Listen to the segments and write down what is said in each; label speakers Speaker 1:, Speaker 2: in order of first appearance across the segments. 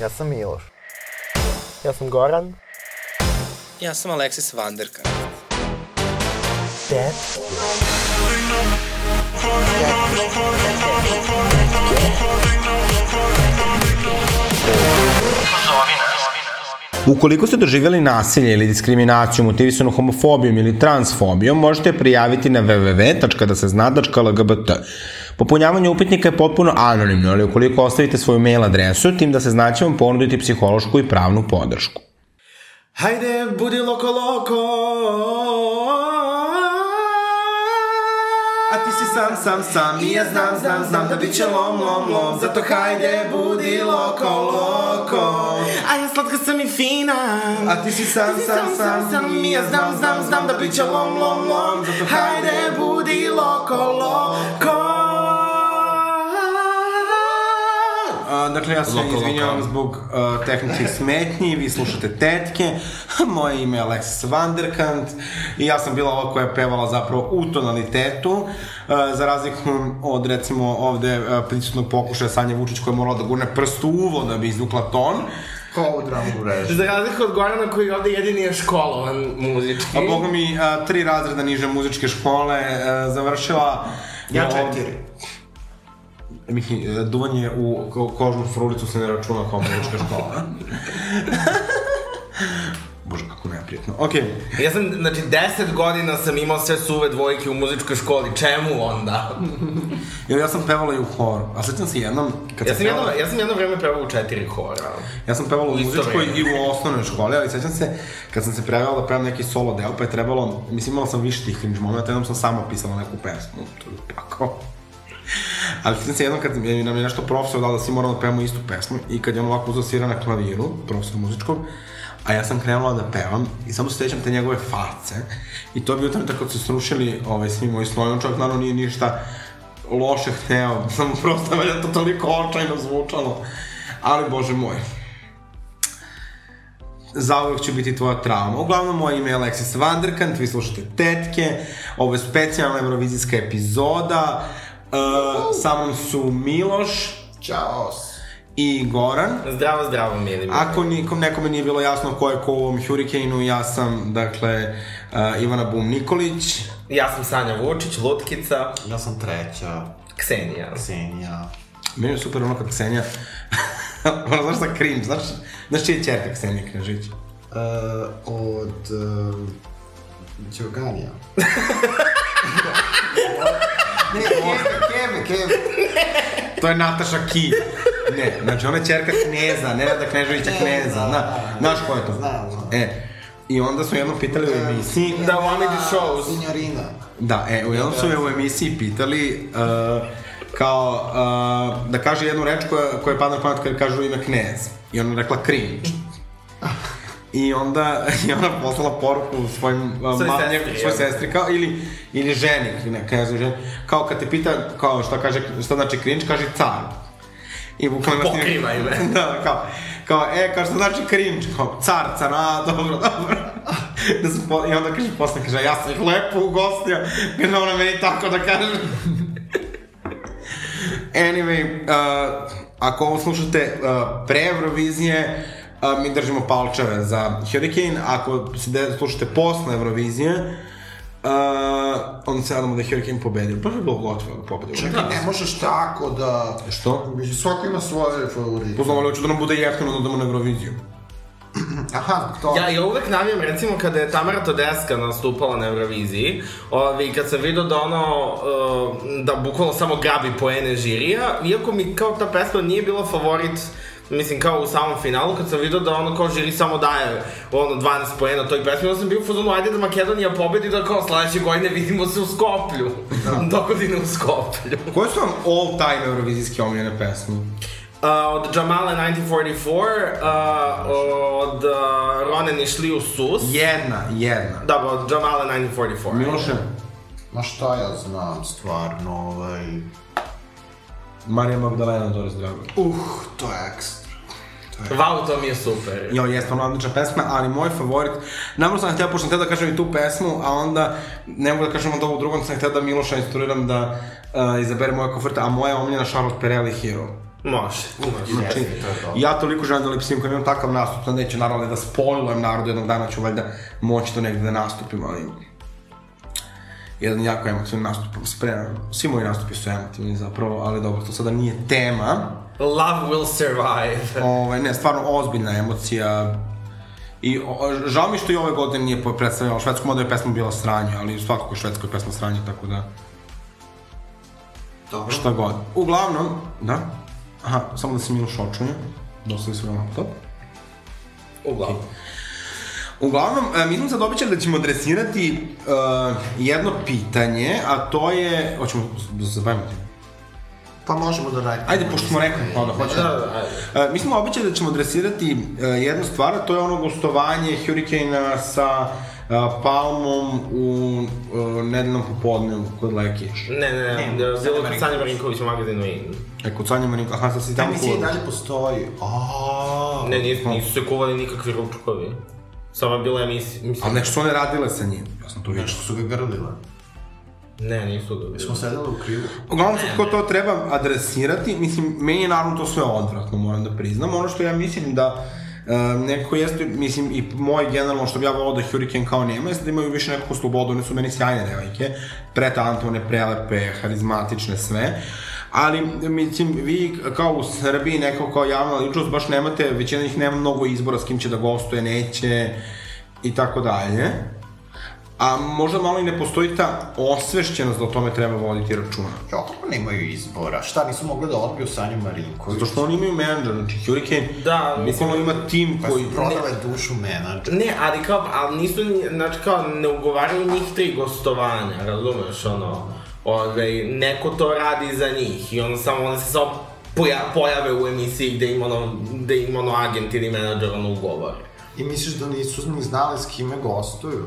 Speaker 1: Ja sam Miloš. Ja sam Goran.
Speaker 2: Ja sam Alexis Vanderka.
Speaker 1: Dead.
Speaker 3: Ukoliko ste doživjeli nasilje ili diskriminaciju motivisanu homofobijom ili transfobijom, možete je prijaviti na www.dasezna.lgbt. Popunjavanje upitnika je potpuno anonimno, ali ukoliko ostavite svoju mail adresu, tim da se znaće vam ponuditi psihološku i pravnu podršku.
Speaker 4: Hajde, budi loko loko. A ti si sam, sam, sam, i ja znam, znam, znam da bit će lom, lom, lom Zato hajde, budi loko, loko
Speaker 5: A ja slatka sam i fina
Speaker 4: A ti si sam,
Speaker 5: Ti si
Speaker 4: sam, sam,
Speaker 5: sam I ja znam, znam, znam da bit će lom, lom, lom
Speaker 4: Zato
Speaker 5: Hajde, budi loko, loko
Speaker 4: A, dakle, ja se izvinjavam zbog uh, tehničkih smetnji, vi slušate tetke, moje ime je Alexis Vanderkant i ja sam bila ova koja je pevala zapravo u tonalitetu, uh, za razliku od recimo ovde uh, prisutnog pokušaja Sanje Vučić koja je morala da gurne prst u uvo da bi izvukla ton.
Speaker 5: Za razliku od Gorana koji ovde jedini je školovan muzički
Speaker 4: A boga mi uh, tri razreda niže muzičke škole uh, završila. Ja četiri. Mihi, uh, duvanje u ko- kožnu frulicu se ne računa kao muzička škola. Bože, kako neprijatno. Okej.
Speaker 5: Ja sam, znači, deset godina sam imao sve suve dvojke u muzičkoj školi, čemu onda?
Speaker 4: Jer ja sam pevala i u horu. A sjećam se jednom... Kad
Speaker 5: Ja sam jedno,
Speaker 4: pevala-
Speaker 5: ja sam jedno vreme pevao u četiri hora.
Speaker 4: Ja sam pevala u
Speaker 5: isto
Speaker 4: muzičkoj
Speaker 5: vreme.
Speaker 4: i u osnovnoj školi, ali sećam se kad sam se prevala da pevam neki solo deo, pa je trebalo, mislim imala sam više tih cringe momenta, jednom sam sama pisala neku pesmu, to je pakao. Ali sećam se jednom kad je, nam je nešto profesor dao da svi moramo da pevamo istu pesmu i kad je on ovako uzao svira na klaviru, profesor muzičkog, a ja sam krenula da pevam i samo se sećam te njegove face i to je bio trenutak kad su se srušili ovaj, svi moji snovi, on čovjek naravno nije ništa loše hteo, samo prosto valjda to toliko očajno zvučalo, ali bože moj, zauvek će biti tvoja trauma. Uglavnom, moje ime je Alexis Vanderkant, vi slušate Tetke, ovo je specijalna eurovizijska epizoda, uh, sa mnom su Miloš
Speaker 1: Ćao.
Speaker 4: i Goran.
Speaker 5: Zdravo, zdravo, mili. mi.
Speaker 4: Ako nikom, nekome nije bilo jasno ko je ko u ovom Hurricane-u, ja sam, dakle, uh, Ivana Bum Nikolić.
Speaker 5: Ja sam Sanja Vučić, Lutkica,
Speaker 6: Ja sam treća,
Speaker 5: Ksenija.
Speaker 6: Ksenija.
Speaker 4: Meni je super ono kad Ksenija... ono, znaš šta cringe, znaš, znaš čija je čerka Ksenija Knežić?
Speaker 6: E, od... Uh, Đoganija. ne, Keve, Keve, Keve.
Speaker 4: To je Nataša Ki. Ne, znači ona je čerka Kneza, Nenada
Speaker 6: E,
Speaker 4: Kneževića Kneza. Zna, znaš ko je to?
Speaker 6: da, Znam, znam.
Speaker 4: E, I onda su jednom pitali u emisiji,
Speaker 5: Da, one the shows.
Speaker 6: Signorina.
Speaker 4: da, e, u jednom su je u emisiji pitali uh, kao, uh, da kaže jednu reč koja, koja je padna na pamet kada kažu ime Knez. I ona je rekla cringe. I onda je ona poslala poruku svojim uh,
Speaker 5: Svojoj
Speaker 4: ma-
Speaker 5: sestri,
Speaker 4: njeg-
Speaker 5: jel?
Speaker 4: svojoj sestri kao, ili, ili ženi, ne, kaže ženi, kao kad te pita kao šta, kaže, šta znači cringe, kaže car. I bukvalno ima snimak-
Speaker 5: Pokrivaj me.
Speaker 4: da, kao, kao, e, kao što znači cringe, kao, car, car, a, dobro, dobro. da sam po, I onda kaže posle, kaže, ja sam ih lepo ugostio, kaže, ona meni tako da kaže. anyway, uh, ako ovo slušate uh, pre Eurovizije, uh, mi držimo palčeve za Hurricane, ako se de, slušate posle Eurovizije, Uh, onda se nadamo da je Hurricane pobedio. Baš je bilo gotovo da pobedio.
Speaker 6: Čekaj, ne možeš tako da...
Speaker 4: Što?
Speaker 6: Mislim, svako ima svoje favorite.
Speaker 4: Poznamo li hoću da nam bude jeftino da odemo na Euroviziju.
Speaker 6: Aha, to.
Speaker 5: Ja, ja uvek navijam, recimo, kada je Tamara Todeska nastupala na Euroviziji, ovi, kad sam vidio da ono, uh, da bukvalno samo gabi poene žirija, iako mi kao ta pesma nije bila favorit, mislim, kao u samom finalu, kad sam vidio da ono kao žiri samo daje ono 12 poena toj pesmi, onda sam bio u fazonu, ajde da Makedonija pobedi, da kao sledeće godine vidimo se u Skoplju. Da. Dogodine u Skoplju.
Speaker 4: Koje su vam all time eurovizijski omiljene pesme?
Speaker 5: Uh, od Jamala 1944, uh, od uh, Ronen i Šliju Sus.
Speaker 4: Jedna, jedna.
Speaker 5: Da, od Jamala 1944.
Speaker 4: Miloše,
Speaker 6: Ma šta ja znam, stvarno, ovaj...
Speaker 4: Marija Magdalena Doris Drago.
Speaker 6: Uh, to je ekstra.
Speaker 5: Vau, to mi je super.
Speaker 4: Jo, jeste ono odlična pesma, ali moj favorit, namjerno sam htio, pošto sam htio da kažem i tu pesmu, a onda ne mogu da kažem onda ovu eh, drugom, sam htio da Miloša instruiram da uh, izabere moje koferta, a moja je omiljena Charlotte Perelli Hero.
Speaker 5: Može.
Speaker 4: Znači, ja toliko želim da lipsim kad imam takav nastup, da neću naravno da spoilujem narodu, jednog dana ću valjda moći to negde da nastupim, ali jedan jako emotivan nastup spremam. Svi moji nastupi su emotivni zapravo, ali dobro, to sada nije tema.
Speaker 5: Love will survive.
Speaker 4: Ovaj, ne, stvarno ozbiljna emocija. I o, o, žao mi što i ove godine nije predstavljala švedsku, mada je pesma bila sranje, ali svakako je švedska pesma sranje, tako da
Speaker 6: Dobro.
Speaker 4: šta god. Uglavnom, da, aha, samo da si Miloš očunje, dostavi svoj laptop.
Speaker 5: Uglavnom.
Speaker 4: Uglavnom, e, mi smo sad obećali da ćemo adresirati uh, jedno pitanje, a to je... Hoćemo da se bavimo tim.
Speaker 6: Pa možemo da radimo.
Speaker 4: Ajde, pošto smo rekli, pa da hoćemo.
Speaker 5: Da, da, ajde.
Speaker 4: E, mi smo obećali da ćemo adresirati e, jednu stvar, a to je ono gostovanje Hurricane sa e, Palmom u e, nedeljnom popodnevu kod Leki.
Speaker 5: Ne, ne, ne,
Speaker 6: Ne,
Speaker 5: da, bilo
Speaker 6: Sanja
Speaker 5: je kod Sanja Marinković u magazinu in.
Speaker 4: E, kod Sanja Marinka, aha, sad si
Speaker 6: Ta
Speaker 4: tamo
Speaker 6: emisija i
Speaker 5: da
Speaker 4: kod...
Speaker 6: dalje postoji. Aaaa.
Speaker 5: Ne, nisu, nisu se kuvali nikakvi ručkovi. Samo je bila emisija, mislim...
Speaker 4: Ali nešto su one radile sa njim, ja sam
Speaker 5: Da.
Speaker 4: to vidio.
Speaker 6: Nešto su ga grlile.
Speaker 5: Ne, nisu ga
Speaker 6: Mi smo
Speaker 5: bili.
Speaker 6: sedeli u krivu.
Speaker 4: Uglavnom, kako to treba adresirati, mislim, meni je naravno to sve odvratno, moram da priznam. Ono što ja mislim da e, nekako jeste, mislim, i moj generalno što bi ja volao da Hurricane kao nema, jeste da imaju više nekakvu slobodu, one su meni sjajne devojke, pretalentovane, prelepe, harizmatične, sve. Ali, mislim, vi kao u Srbiji, nekako kao javna ličnost, baš nemate, većina njih nema mnogo izbora s kim će da gostuje, neće, i tako dalje. A možda malo i ne postoji ta osvešćenost da o tome treba voditi računa.
Speaker 6: Jo, nemaju izbora. Šta, nisu mogli da odbiju Sanju Marinković?
Speaker 4: Zato što oni imaju menadžer, znači Hurricane,
Speaker 5: Da,
Speaker 4: bukvalno ima tim
Speaker 6: Pa
Speaker 4: koji...
Speaker 6: su prodale dušu menadžera.
Speaker 5: Ne, ali kao, ali nisu, ni- znači kao, ne ugovaraju njih tri gostovanja, razumeš, ono, ove, neko to radi za njih i ono samo, one se samo poja, pojave u emisiji gde im ono, gde im ono agent ili menadžer ono ugovore.
Speaker 6: I misliš da nisu ni znali s kime gostuju?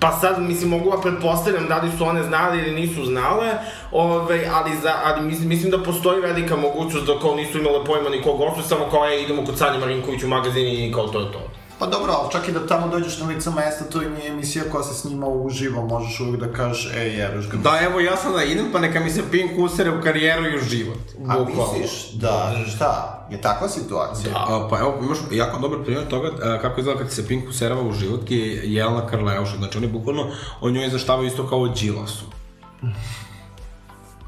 Speaker 5: Pa sad, mislim, mogu da pretpostavljam da li su one znali ili nisu znale, ove, ali, za, ali mislim, mislim da postoji velika mogućnost da kao nisu imale pojma ni kog gostu, samo kao, e, idemo kod Sanje Marinković u magazin i kao to je to.
Speaker 6: Pa dobro, ali čak i da tamo dođeš na lica mesta, to i nije emisija koja se snima uživo, možeš uvijek da kažeš, e, jeruš ga.
Speaker 4: Da, evo, ja sam da idem, pa neka mi se pink usere u karijeru i u život.
Speaker 6: A misliš da, šta, je takva situacija?
Speaker 4: A, pa evo, imaš jako dobar primjer toga a, kako izgleda kad se Pink userava u život je Jelena Karleuša. Znači, oni bukvalno o njoj izveštavaju isto kao o Đilasu.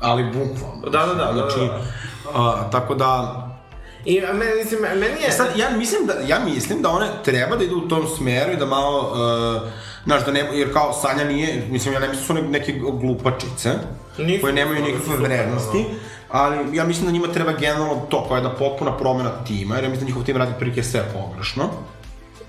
Speaker 4: Ali bukvalno.
Speaker 5: Da, da, da, da,
Speaker 4: Znači,
Speaker 5: da.
Speaker 4: A, tako da,
Speaker 5: I, a meni, mislim, meni je...
Speaker 4: E sad, ja mislim da, ja mislim da one treba da idu u tom smeru i da malo, uh, znaš, da ne, jer kao Sanja nije, mislim, ja ne mislim da su one neke glupačice,
Speaker 5: Nisu,
Speaker 4: koje nemaju
Speaker 5: ali
Speaker 4: nikakve
Speaker 5: su super, da,
Speaker 4: vrednosti, ali ja mislim da njima treba generalno to, koja je da potpuna promena tima, jer ja mislim da njihov tim radi prilike sve pogrešno.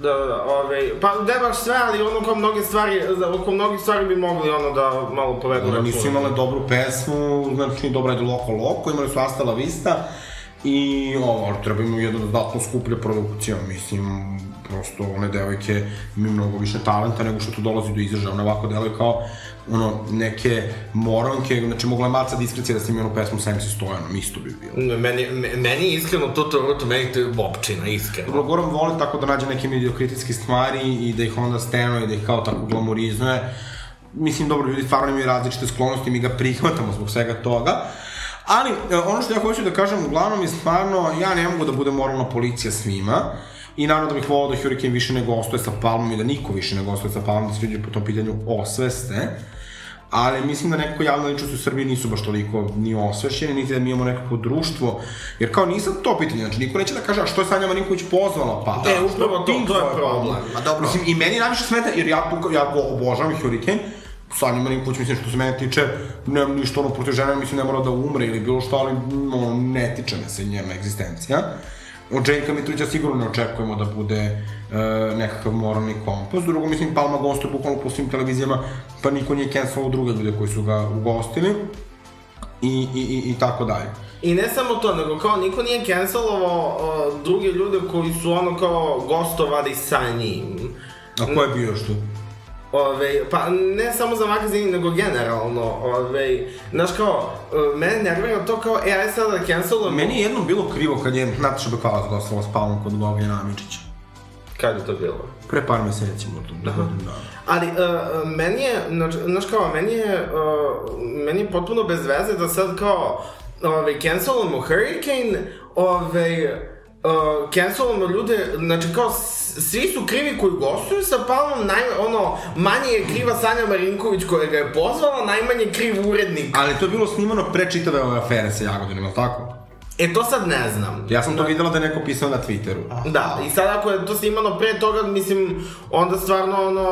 Speaker 5: Da, da, da, ovaj, pa ne baš sve, ali ono kao mnoge stvari, za- oko mnogih stvari bi mogli ono da malo povedu
Speaker 4: Dobro,
Speaker 5: računa.
Speaker 4: nisu imale dobru pesmu, znači dobra je Loko Loko, imali su Asta La Vista i ovo, treba im jedna dodatno skuplja produkcija, mislim, prosto one devojke imaju mnogo više talenta nego što to dolazi do izražaja, one ovako delaju kao ono, neke moronke, znači mogla je maca diskrecija da snimi onu pesmu sa MC Stojanom, isto bi bilo.
Speaker 5: Ne, Meni, me- meni je iskreno Tuto Ruto, meni to je bobčina, iskreno.
Speaker 4: Goran voli tako da nađe neke mediokritijske stvari i da ih onda stenuje, da ih kao tako glamorizuje. Mislim, dobro, ljudi stvarno imaju različite sklonosti, mi ga prihvatamo zbog svega toga. Ali, e, ono što ja hoću da kažem, uglavnom je stvarno, ja ne mogu da budem moralna policija svima. I naravno da bih volao da Hurricane više ne gostuje sa Palmom i da niko više ne gostuje sa Palmom, da se ljudi po tom pitanju osveste. Ali mislim da nekako javne ličnosti u Srbiji nisu baš toliko ni osvešćene, niti da mi imamo nekako društvo. Jer kao nisam to pitanje, znači niko neće da kaže, a što je Sanja Marinković pozvala Pa, Palmu?
Speaker 5: E, upravo to,
Speaker 4: Pink
Speaker 5: to je
Speaker 4: zove
Speaker 5: problem.
Speaker 4: Palmu.
Speaker 6: Ma dobro.
Speaker 4: Mislim, i meni najviše smeta, jer ja, tu, ja go- obožavam Hurricane, Sanja Marinković, mislim, što se mene tiče, nemam ništa ono protiv žene, mislim, ne mora da umre ili bilo što, ali mm, ono, ne tiče me se njena egzistencija. Od Jenka Mitrovića sigurno ne očekujemo da bude e, nekakav moralni kompas. Drugo, mislim, Palma gostuje bukvalno po svim televizijama, pa niko nije cancelao druge ljude koji su ga ugostili i, i, i, i tako dalje.
Speaker 5: I ne samo to, nego kao niko nije cancelovao uh, druge ljude koji su ono kao gostovali sa njim.
Speaker 4: A ko je bio još tu?
Speaker 5: Ove, pa ne samo za magazin, nego generalno, ove, znaš kao, e, mene nervira to kao, e, aj sad da cancelujem...
Speaker 4: Meni je jednom bilo krivo kad je Nataša Bekvalac gostala s Palmom kod Gogljana Amičića.
Speaker 5: Kad je to bilo?
Speaker 4: Pre par meseci možda, da godinu dana.
Speaker 5: Ali, uh, e, meni je, znač- znaš kao, meni je, uh, meni je potpuno bez veze da sad kao, ove, cancelamo Hurricane, ove, uh, cancelamo ljude, znači kao s- svi su krivi koji gostuju sa Palmom, naj, ono, manje je kriva Sanja Marinković koja ga je pozvala, najmanje je kriv urednik.
Speaker 4: Ali to je bilo snimano pre čitave ove afere sa Jagodinom, je li tako?
Speaker 5: E to sad ne znam.
Speaker 4: Ja sam to videla da je neko pisao na Twitteru.
Speaker 5: Da, i sad ako je to snimano pre toga, mislim, onda stvarno ono,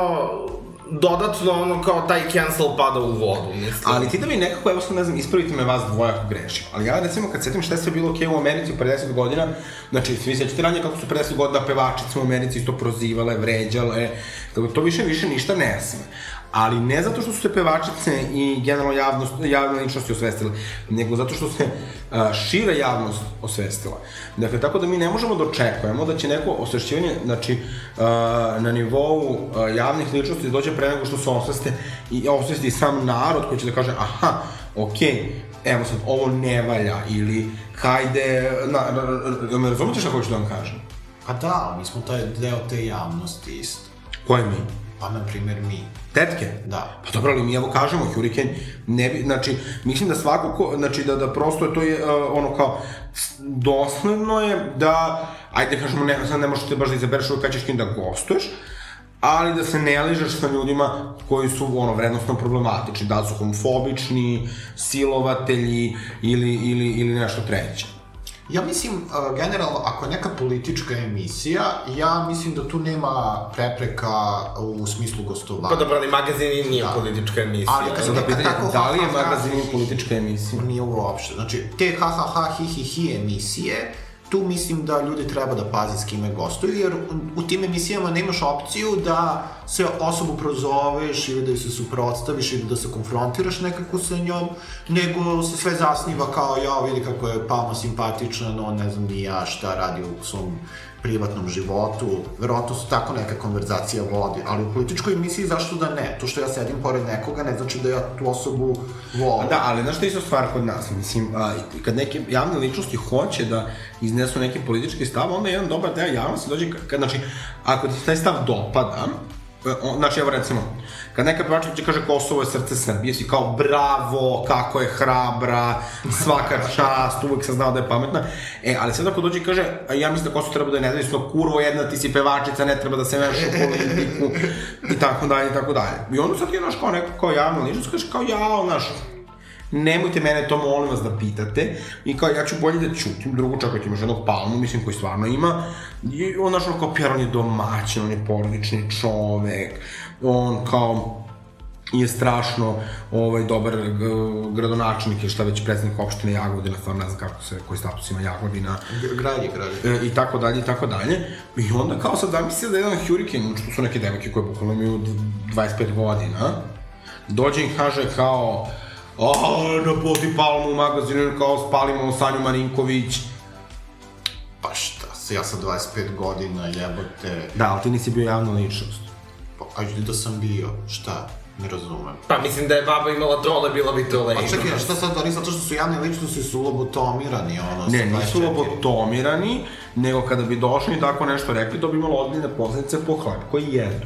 Speaker 5: dodatno ono kao taj cancel pada u vodu, mislim.
Speaker 4: Ali ti da mi nekako, evo sad ne znam, ispravite me vas dvoje ako grešim. Ali ja recimo kad setim šta je sve bilo okej u Americi u 50 godina, znači vi sećate ranije kako su 50 godina pevačice u Americi isto prozivale, vređale, tako to više više ništa ne sme. Ali ne zato što su se pevačice i generalno javnost, javne ličnosti osvestile, nego zato što se a, šira javnost osvestila. Dakle, tako da mi ne možemo da očekujemo da će neko osvešćivanje, znači, a, na nivou a, javnih ličnosti da dođe pre nego što se osveste i osvesti sam narod koji će da kaže, aha, okej, evo sad, ovo ne valja, ili hajde, na, na, na, me razumete šta hoću da vam kažem?
Speaker 7: Pa da, mi smo taj deo te javnosti isto.
Speaker 4: Koje mi?
Speaker 7: Pa, na primjer, mi.
Speaker 4: Tetke?
Speaker 7: Da.
Speaker 4: Pa dobro, ali mi evo kažemo, Hurricane, ne bi, znači, mislim da svako ko, znači da, da prosto je to je, uh, ono kao, s- dosledno je da, ajde kažemo, ne, sad ne možete baš da izabereš uvijek kad ćeš kim da gostuješ, ali da se ne ližeš sa ljudima koji su ono vrednostno problematični, da li su homofobični, silovatelji ili, ili, ili nešto treće.
Speaker 7: Ja mislim,
Speaker 6: e,
Speaker 7: uh, generalno, ako je neka politička emisija, ja mislim da tu nema prepreka u smislu gostovanja.
Speaker 5: Pa
Speaker 6: da
Speaker 5: dobro, ali magazin i nije
Speaker 7: Da.
Speaker 5: politička emisija.
Speaker 7: Ali kad sam
Speaker 4: Da
Speaker 7: E,
Speaker 4: pitanje,
Speaker 7: tako,
Speaker 4: da li je
Speaker 7: ha, ha, ha.
Speaker 4: magazin politička emisija?
Speaker 7: Nije uopšte. Znači, te ha ha ha hi hi hi emisije, tu mislim da ljudi treba da paze s kime gostuju, jer u- u tim emisijama nemaš opciju da se osobu prozoveš ili da joj se suprotstaviš ili da se konfrontiraš nekako sa njom, nego se sve zasniva kao ja vidi kako je Palma simpatičan, on ne znam ni ja šta radi u svom privatnom životu, verovatno su tako neka konverzacija vodi, ali u političkoj emisiji zašto da ne? To što ja sedim pored nekoga ne znači da ja tu osobu volim.
Speaker 4: Da, ali znaš što je isto stvar kod nas, mislim, a, i kad neke javne ličnosti hoće da iznesu neki politički stav, onda jedan dobar deo javnosti dođe, ka- kad, znači, ako ti se taj stav dopada, e, o- znači, evo recimo, kad neka pevačica dođe i kaže Kosovo je srce Srbije, si kao bravo, kako je hrabra, svaka čast, uvek sam znao da je pametna, e, ali sad ako dođe i kaže, "A ja mislim da Kosovo treba da je nezavisno, kurvo jedna, ti si pevačica, ne treba da se meša u politiku, i tako dalje, i tako dalje. I onda sad ti, znaš, kao neko, kao javna ličnost, kažeš kao, jao, znaš, nemojte mene to molim vas da pitate i kao ja ću bolje da ćutim, drugo čak ako imaš jednog palmu, mislim koji stvarno ima i on znaš ono kao pjer, on je domaćin, on je porodični čovek, on kao je strašno ovaj, dobar g- gradonačelnik ili šta već predsednik opštine Jagodina, stvarno ne znam kako se, koji status ima Jagodina,
Speaker 7: Grad je grad.
Speaker 4: e, i tako dalje i tako dalje. I onda kao sad zamislite da jedan Hurricane, što su neke devojke koje bukvalno imaju d- 25 godina, dođe i kaže kao a, na poti palmu u magazinu, kao spalimo Sanju Marinković.
Speaker 7: Pa šta, se ja sam 25 godina, jebote,
Speaker 4: Da, ali ti nisi bio javna ličnost.
Speaker 7: pa ajde da sam bio, šta, ne razumem.
Speaker 5: Pa mislim da je baba imala trole, bila bi to
Speaker 7: Pa
Speaker 5: legno.
Speaker 7: čekaj, a šta sad, oni zato što su javne ličnosti su lobotomirani, ono,
Speaker 4: Ne,
Speaker 7: sa
Speaker 4: nisu
Speaker 7: 24.
Speaker 4: lobotomirani, nego kada bi došli i tako nešto rekli, to bi imalo odbiljne posledice po hleb koji jedu.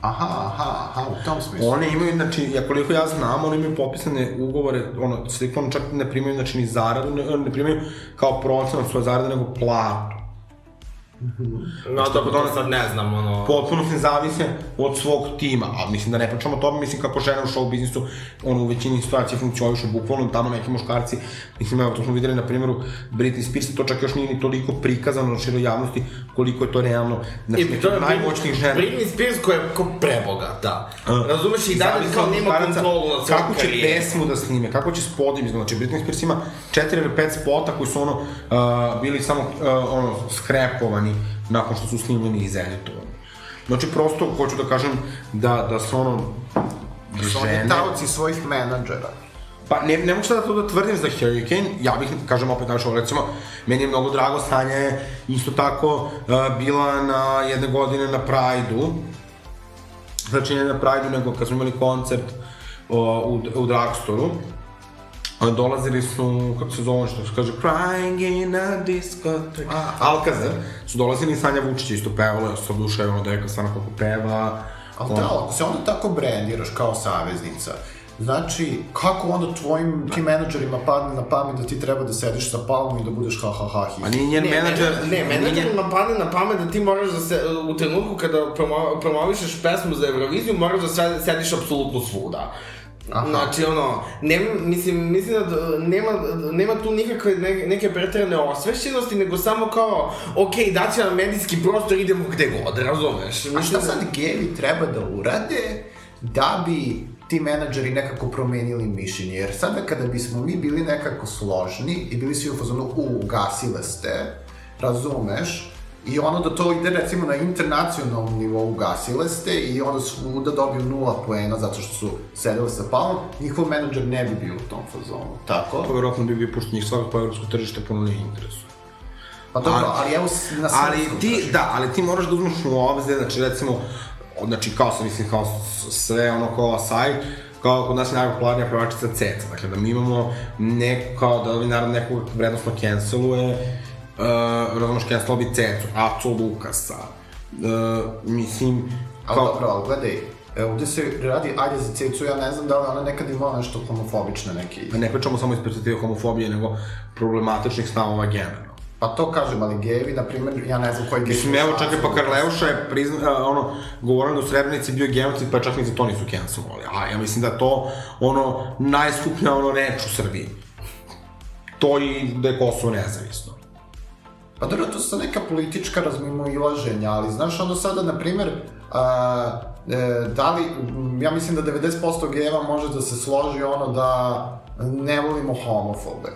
Speaker 7: Aha, aha, aha, u tom smislu.
Speaker 4: One imaju, znači, ja koliko ja znam, one imaju popisane ugovore, ono, slikovno čak ne primaju, znači, ni zaradu, ne, ne primaju kao procenat svoje zarade, nego platu.
Speaker 5: No dobro, to sad ne znam, ono...
Speaker 4: Potpuno se zavise od svog tima, a mislim da ne pričamo o tome, mislim kako žene u show biznisu, ono, u većini situacija funkcionišu, bukvalno tamo neki muškarci, mislim, evo, to smo videli na primjeru Britney Spears, to čak još nije ni toliko prikazano na široj javnosti, koliko je to realno, znači, neki od najmoćnijih žena.
Speaker 5: Britney Spears koja je ko prebogata.
Speaker 4: A.
Speaker 5: Razumeš Znači, i dalje
Speaker 4: Zavisi
Speaker 5: kao
Speaker 4: od
Speaker 5: nema
Speaker 4: muškaraca
Speaker 5: kontrolu nad svojom
Speaker 4: Kako će
Speaker 5: karijerom.
Speaker 4: pesmu da snime, kako će spodim izgledati. Znači, Britney Spears ima četiri ili pet spota koji su ono, uh, bili samo uh, ono, skrepovani nakon što su snimljeni i zeditovani. Znači, prosto, hoću da kažem da, da su ono,
Speaker 7: Su
Speaker 4: žene-
Speaker 7: oni taoci svojih menadžera.
Speaker 4: Pa ne, ne mogu sada to da tvrdim za Hurricane, ja bih, kažem opet našao, recimo, meni je mnogo drago, Sanja je isto tako uh, bila na jedne godine na Prajdu, znači ne na Prajdu, nego kad smo imali koncert uh, u, u Dragstoru, uh, dolazili su, kako se zove, ono što se kaže, Crying in a discotheque, a, Alcazar, su dolazili i Sanja Vučić je isto pevala, ja sam duša je ono deka, stvarno kako peva,
Speaker 7: Ali
Speaker 4: ono-
Speaker 7: da, ako se onda tako brendiraš kao saveznica, Znači, kako onda tvojim tim menadžerima padne na pamet da ti treba da sediš sa palmom i da budeš ha ha ha hi?
Speaker 4: Pa nije njen
Speaker 5: Ne,
Speaker 4: menadžer...
Speaker 5: ne, ne, menadžerima padne na pamet da ti moraš da se, u trenutku kada promo, promovišeš pesmu za Euroviziju, moraš da se- sediš apsolutno svuda. Aha. Znači, ono, nema, mislim, mislim da d- nema, nema tu nikakve ne, neke pretrane osvešćenosti, nego samo kao, okej, daće nam medijski prostor, idemo gde god, razumeš?
Speaker 7: A šta sad gevi treba da urade da bi ti menadžeri nekako promenili mišljenje? Jer sada kada bismo mi bili nekako složni i bili svi u fazonu u, ugasile ste, razumeš, I ono da to ide recimo na internacionalnom nivou ugasile ste i onda svuda dobiju nula poena zato što su sedeli sa palom, njihov menadžer ne bi bio u tom fazonu, tako?
Speaker 4: Pa verovatno bi bio pušten njih svakog po evropsko tržište puno njih interesuje.
Speaker 7: Pa dobro,
Speaker 4: Ali-
Speaker 7: ali, evo s- na
Speaker 4: Ali
Speaker 7: srpskom
Speaker 4: ti,
Speaker 7: tržištu.
Speaker 4: da, ali ti moraš da uzmeš u obzir, znači recimo, o, znači kao sam, mislim, kao s- sve ono kao Asai, kao kod nas je najpopularnija pevačica Ceca, dakle da mi imamo neko, kao da bi naravno nekog vrednostno canceluje, uh, razumeš, cancelo bi Cecu, Aco Lukasa, uh, mislim,
Speaker 7: Ali dobro, ali gledaj, e, ovde se radi, ajde za cecu, ja ne znam da li ona nekad imala nešto homofobične neke.
Speaker 4: da ne pričamo samo iz perspektive homofobije, nego problematičnih stavova generalno.
Speaker 7: Pa to kažem, ali gejevi, na primjer, ja ne znam koji gejevi.
Speaker 4: Mislim, evo, čak i pa Karleuša je prizna, a, ono, govorila da u Srebrenici bio genocid, pa čak ni za to nisu cancelovali. A ja mislim da je to, ono, najskuplja, ono, reč u Srbiji. To i da je Kosovo nezavisno.
Speaker 7: Pa dobro, to su neka politička razmimoilaženja, ali znaš, ono sada, na primjer, a, e, da li, m, ja mislim da 90% gejeva može da se složi ono da ne volimo homofobe.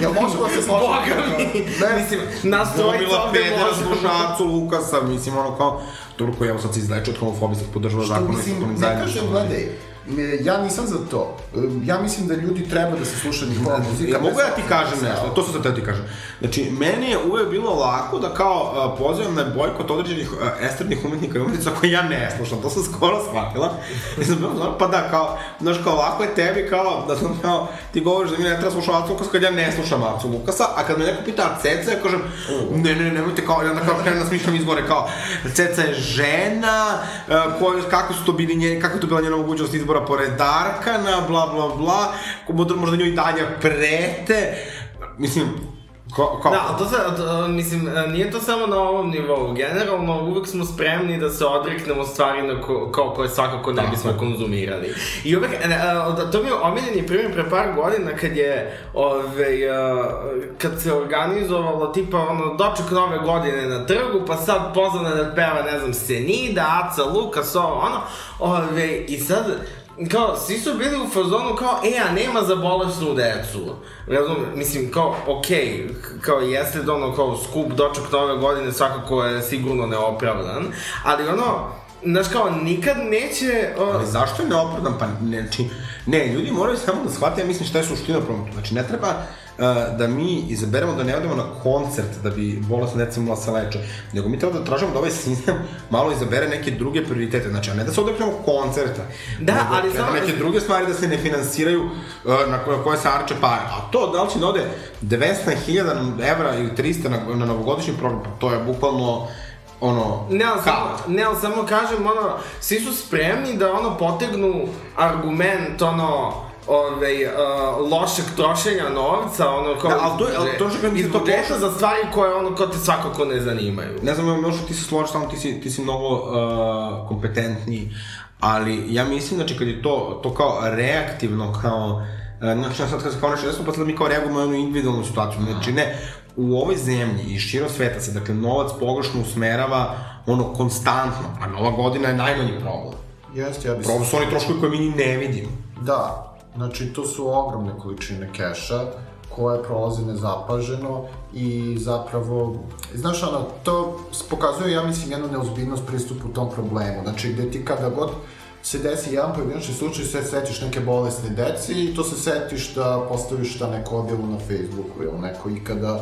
Speaker 7: Jel možemo da se složimo?
Speaker 5: Boga mi!
Speaker 4: Ne,
Speaker 5: mislim, nas trojica
Speaker 4: Dobila
Speaker 5: ovde
Speaker 4: peder
Speaker 5: možemo.
Speaker 4: slušacu Lukasa, mislim, ono, kao, Turko, evo sad se izleče od homofobijskih podržava
Speaker 7: Pa,
Speaker 4: zakon o
Speaker 7: mislim,
Speaker 4: istopolin
Speaker 7: ne kažem,
Speaker 4: zajedništvu.
Speaker 7: gledaj, e, ja nisam za to. E, Ja mislim da ljudi treba da se sluša njihova muzika.
Speaker 4: Ja mogu
Speaker 7: bez
Speaker 4: ja ti kažem
Speaker 7: obzira na
Speaker 4: nešto,
Speaker 7: stav.
Speaker 4: to sam sad teo ti kažem. Znači, meni je uvek bilo lako da kao a, pozivam na bojkot određenih a, estradnih umetnika i umetnica koje ja ne slušam, to sam skoro shvatila. I sam bilo, znaš, pa da, kao, znaš, kao lako je tebi, kao, da sam, kao, ti govoriš da mi ne treba slušati Acu Lukasa kad ja ne slušam Acu Lukasa, a kad me neko pita a Ceca, ja kažem, ne, ne, nemojte, kao, i onda kao krenem da smišljam izbore, kao, Ceca je žena, a, ko, kako su to bili nje, kako je to bila njena mogućnost izbora pored Darkana, bla, bla, bla, ko- možda, možda njoj i dalje prete, Mislim, kao... kao
Speaker 5: Da, ali to se, a, a, mislim, a, nije to samo na ovom nivou. Generalno, uvek smo spremni da se odreknemo stvari na ko, kao koje svakako ne bismo konzumirali. I uvek, e, a, da, to mi je omiljeni primjer pre par godina kad je, ove, a, kad se organizovalo tipa ono, doček nove godine na trgu, pa sad pozvana je da peva, ne znam, Senida, Aca, Lukas, ovo, ono, ove, i sad, kao, svi su bili u fazonu kao, e, a nema za bolesnu decu. Razum, mislim, kao, okej, k- kao jeste da ono, kao, skup doček nove godine svakako je sigurno neopravdan, ali ono, znaš kao, nikad neće... O,
Speaker 4: Ali zašto je neopravdan? Pa ne, znači, ne, ljudi moraju samo da shvate, ja mislim, šta je suština prometa. Znači, ne treba uh, da mi izaberemo da ne odemo na koncert da bi bolesna deca mogla se leče, nego mi treba da tražimo da ovaj sistem malo izabere neke druge prioritete, znači, a ne da se odreknemo koncerta.
Speaker 5: Da,
Speaker 4: nego
Speaker 5: ali
Speaker 4: treba
Speaker 5: samo-
Speaker 4: Neke druge stvari da se ne finansiraju uh, na koje, koje se arče pare. A to, da li će da ode 200.000 evra ili 300 na, na novogodišnji program, pa to je bukvalno ono,
Speaker 5: Ne, ali samo,
Speaker 4: kao?
Speaker 5: ne, ali samo kažem, ono, svi su spremni da, ono, potegnu argument, ono, ovaj, uh, lošeg trošenja novca, ono, kao...
Speaker 4: Da, ali to je- ali to je što kažem,
Speaker 5: iz
Speaker 4: mislim, to
Speaker 5: budžeta
Speaker 4: košta.
Speaker 5: za stvari koje, ono, kao te svakako ne zanimaju.
Speaker 4: Ne znam, Miloš, ti se složiš tamo, ti si, ti si mnogo uh, kompetentniji, ali ja mislim, znači, kad je to, to kao reaktivno, kao, uh, znači, ja sad kad se kao nešto desno, pa sad mi kao reagujemo na jednu individualnu situaciju, znači, ne, u ovoj zemlji i širom sveta se, dakle, novac pogrešno usmerava, ono, konstantno, a nova godina je najmanji problem.
Speaker 7: Jeste, ja bi se
Speaker 4: Problem su oni troškovi koje mi ni ne vidimo.
Speaker 7: Da, znači to su ogromne količine keša koje prolaze nezapaženo i zapravo, znaš ono, to pokazuje, ja mislim, jednu neozbiljnost pristupu tom problemu. Znači, gde ti kada god se desi jedan pojedinačni slučaj, se setiš neke bolesne deci i to se setiš da postaviš ta neko objavu na Facebooku ili neko ikada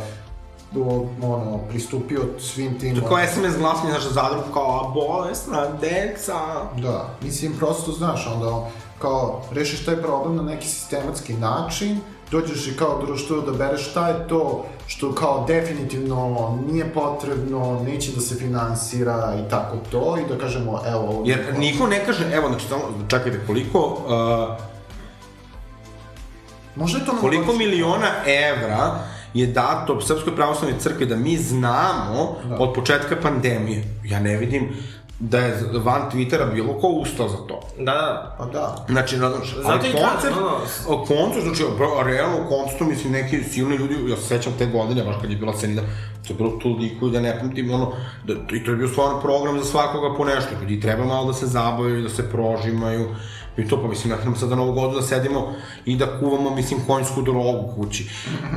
Speaker 7: o, ono, pristupio svim tim...
Speaker 4: Znači, Kao SMS glas mi je naša zadruga, kao, a bolesna, deca,
Speaker 7: Da, mislim, prosto, znaš, onda, kao, rešiš taj problem na neki sistematski način dođeš i kao društvo da bereš šta je to što kao definitivno nije potrebno, neće da se finansira i tako to i da kažemo evo ovo.
Speaker 4: Jer niko ne kaže, evo, znači, tamo, čekajte, koliko, uh,
Speaker 7: Možda je to
Speaker 4: koliko
Speaker 7: moguće.
Speaker 4: miliona evra je dato Srpskoj pravoslavnoj crkvi da mi znamo da.
Speaker 7: Da.
Speaker 4: od početka pandemije. Ja ne vidim da je van Twittera bilo ko ustao za to.
Speaker 5: Da, da.
Speaker 7: Pa da.
Speaker 4: Znači, razumiješ, ali
Speaker 5: Zato i kažem,
Speaker 4: koncert,
Speaker 5: ono-
Speaker 4: o koncu, znači, bro, realno u koncertu, mislim, neki silni ljudi, ja se sećam te godine, baš kad je bila Senida, to je bilo toliko da ne pamtim, ono, da, i to je bio stvarno program za svakoga po nešto, ljudi treba malo da se zabavljaju, da se prožimaju, i to, pa mislim, ja nam sad na novu godinu da sedimo i da kuvamo, mislim, konjsku drogu kući.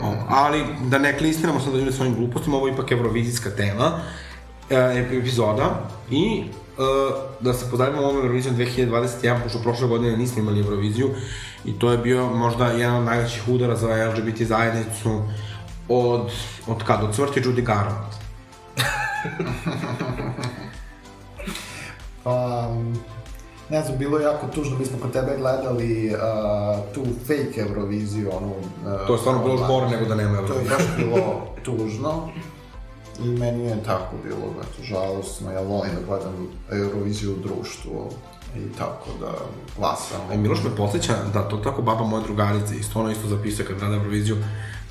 Speaker 4: O, ali, da ne klistiramo sad da ljudi svojim glupostima, ovo je ipak evrovizijska tema, e, epizoda i e, da se pozabavimo ovom Eurovizijom 2021, pošto prošle godine nismo imali Euroviziju i to je bio možda jedan od najvećih udara za LGBT zajednicu od, od kad? Od smrti Judy Garland.
Speaker 7: Pa, ne znam, bilo je jako tužno, mi smo kod tebe gledali uh, tu fake Euroviziju, onu... Uh,
Speaker 4: To je stvarno bilo još gore nego da nema
Speaker 7: To je
Speaker 4: Eurovizije.
Speaker 7: baš bilo tužno. I meni je tako bilo, eto, žalostno, ja volim da gledam Euroviziju u društvu i tako da glasam.
Speaker 4: E, Miloš me podsjeća da to tako baba moje drugarice, isto ona isto zapisuje kad gleda Euroviziju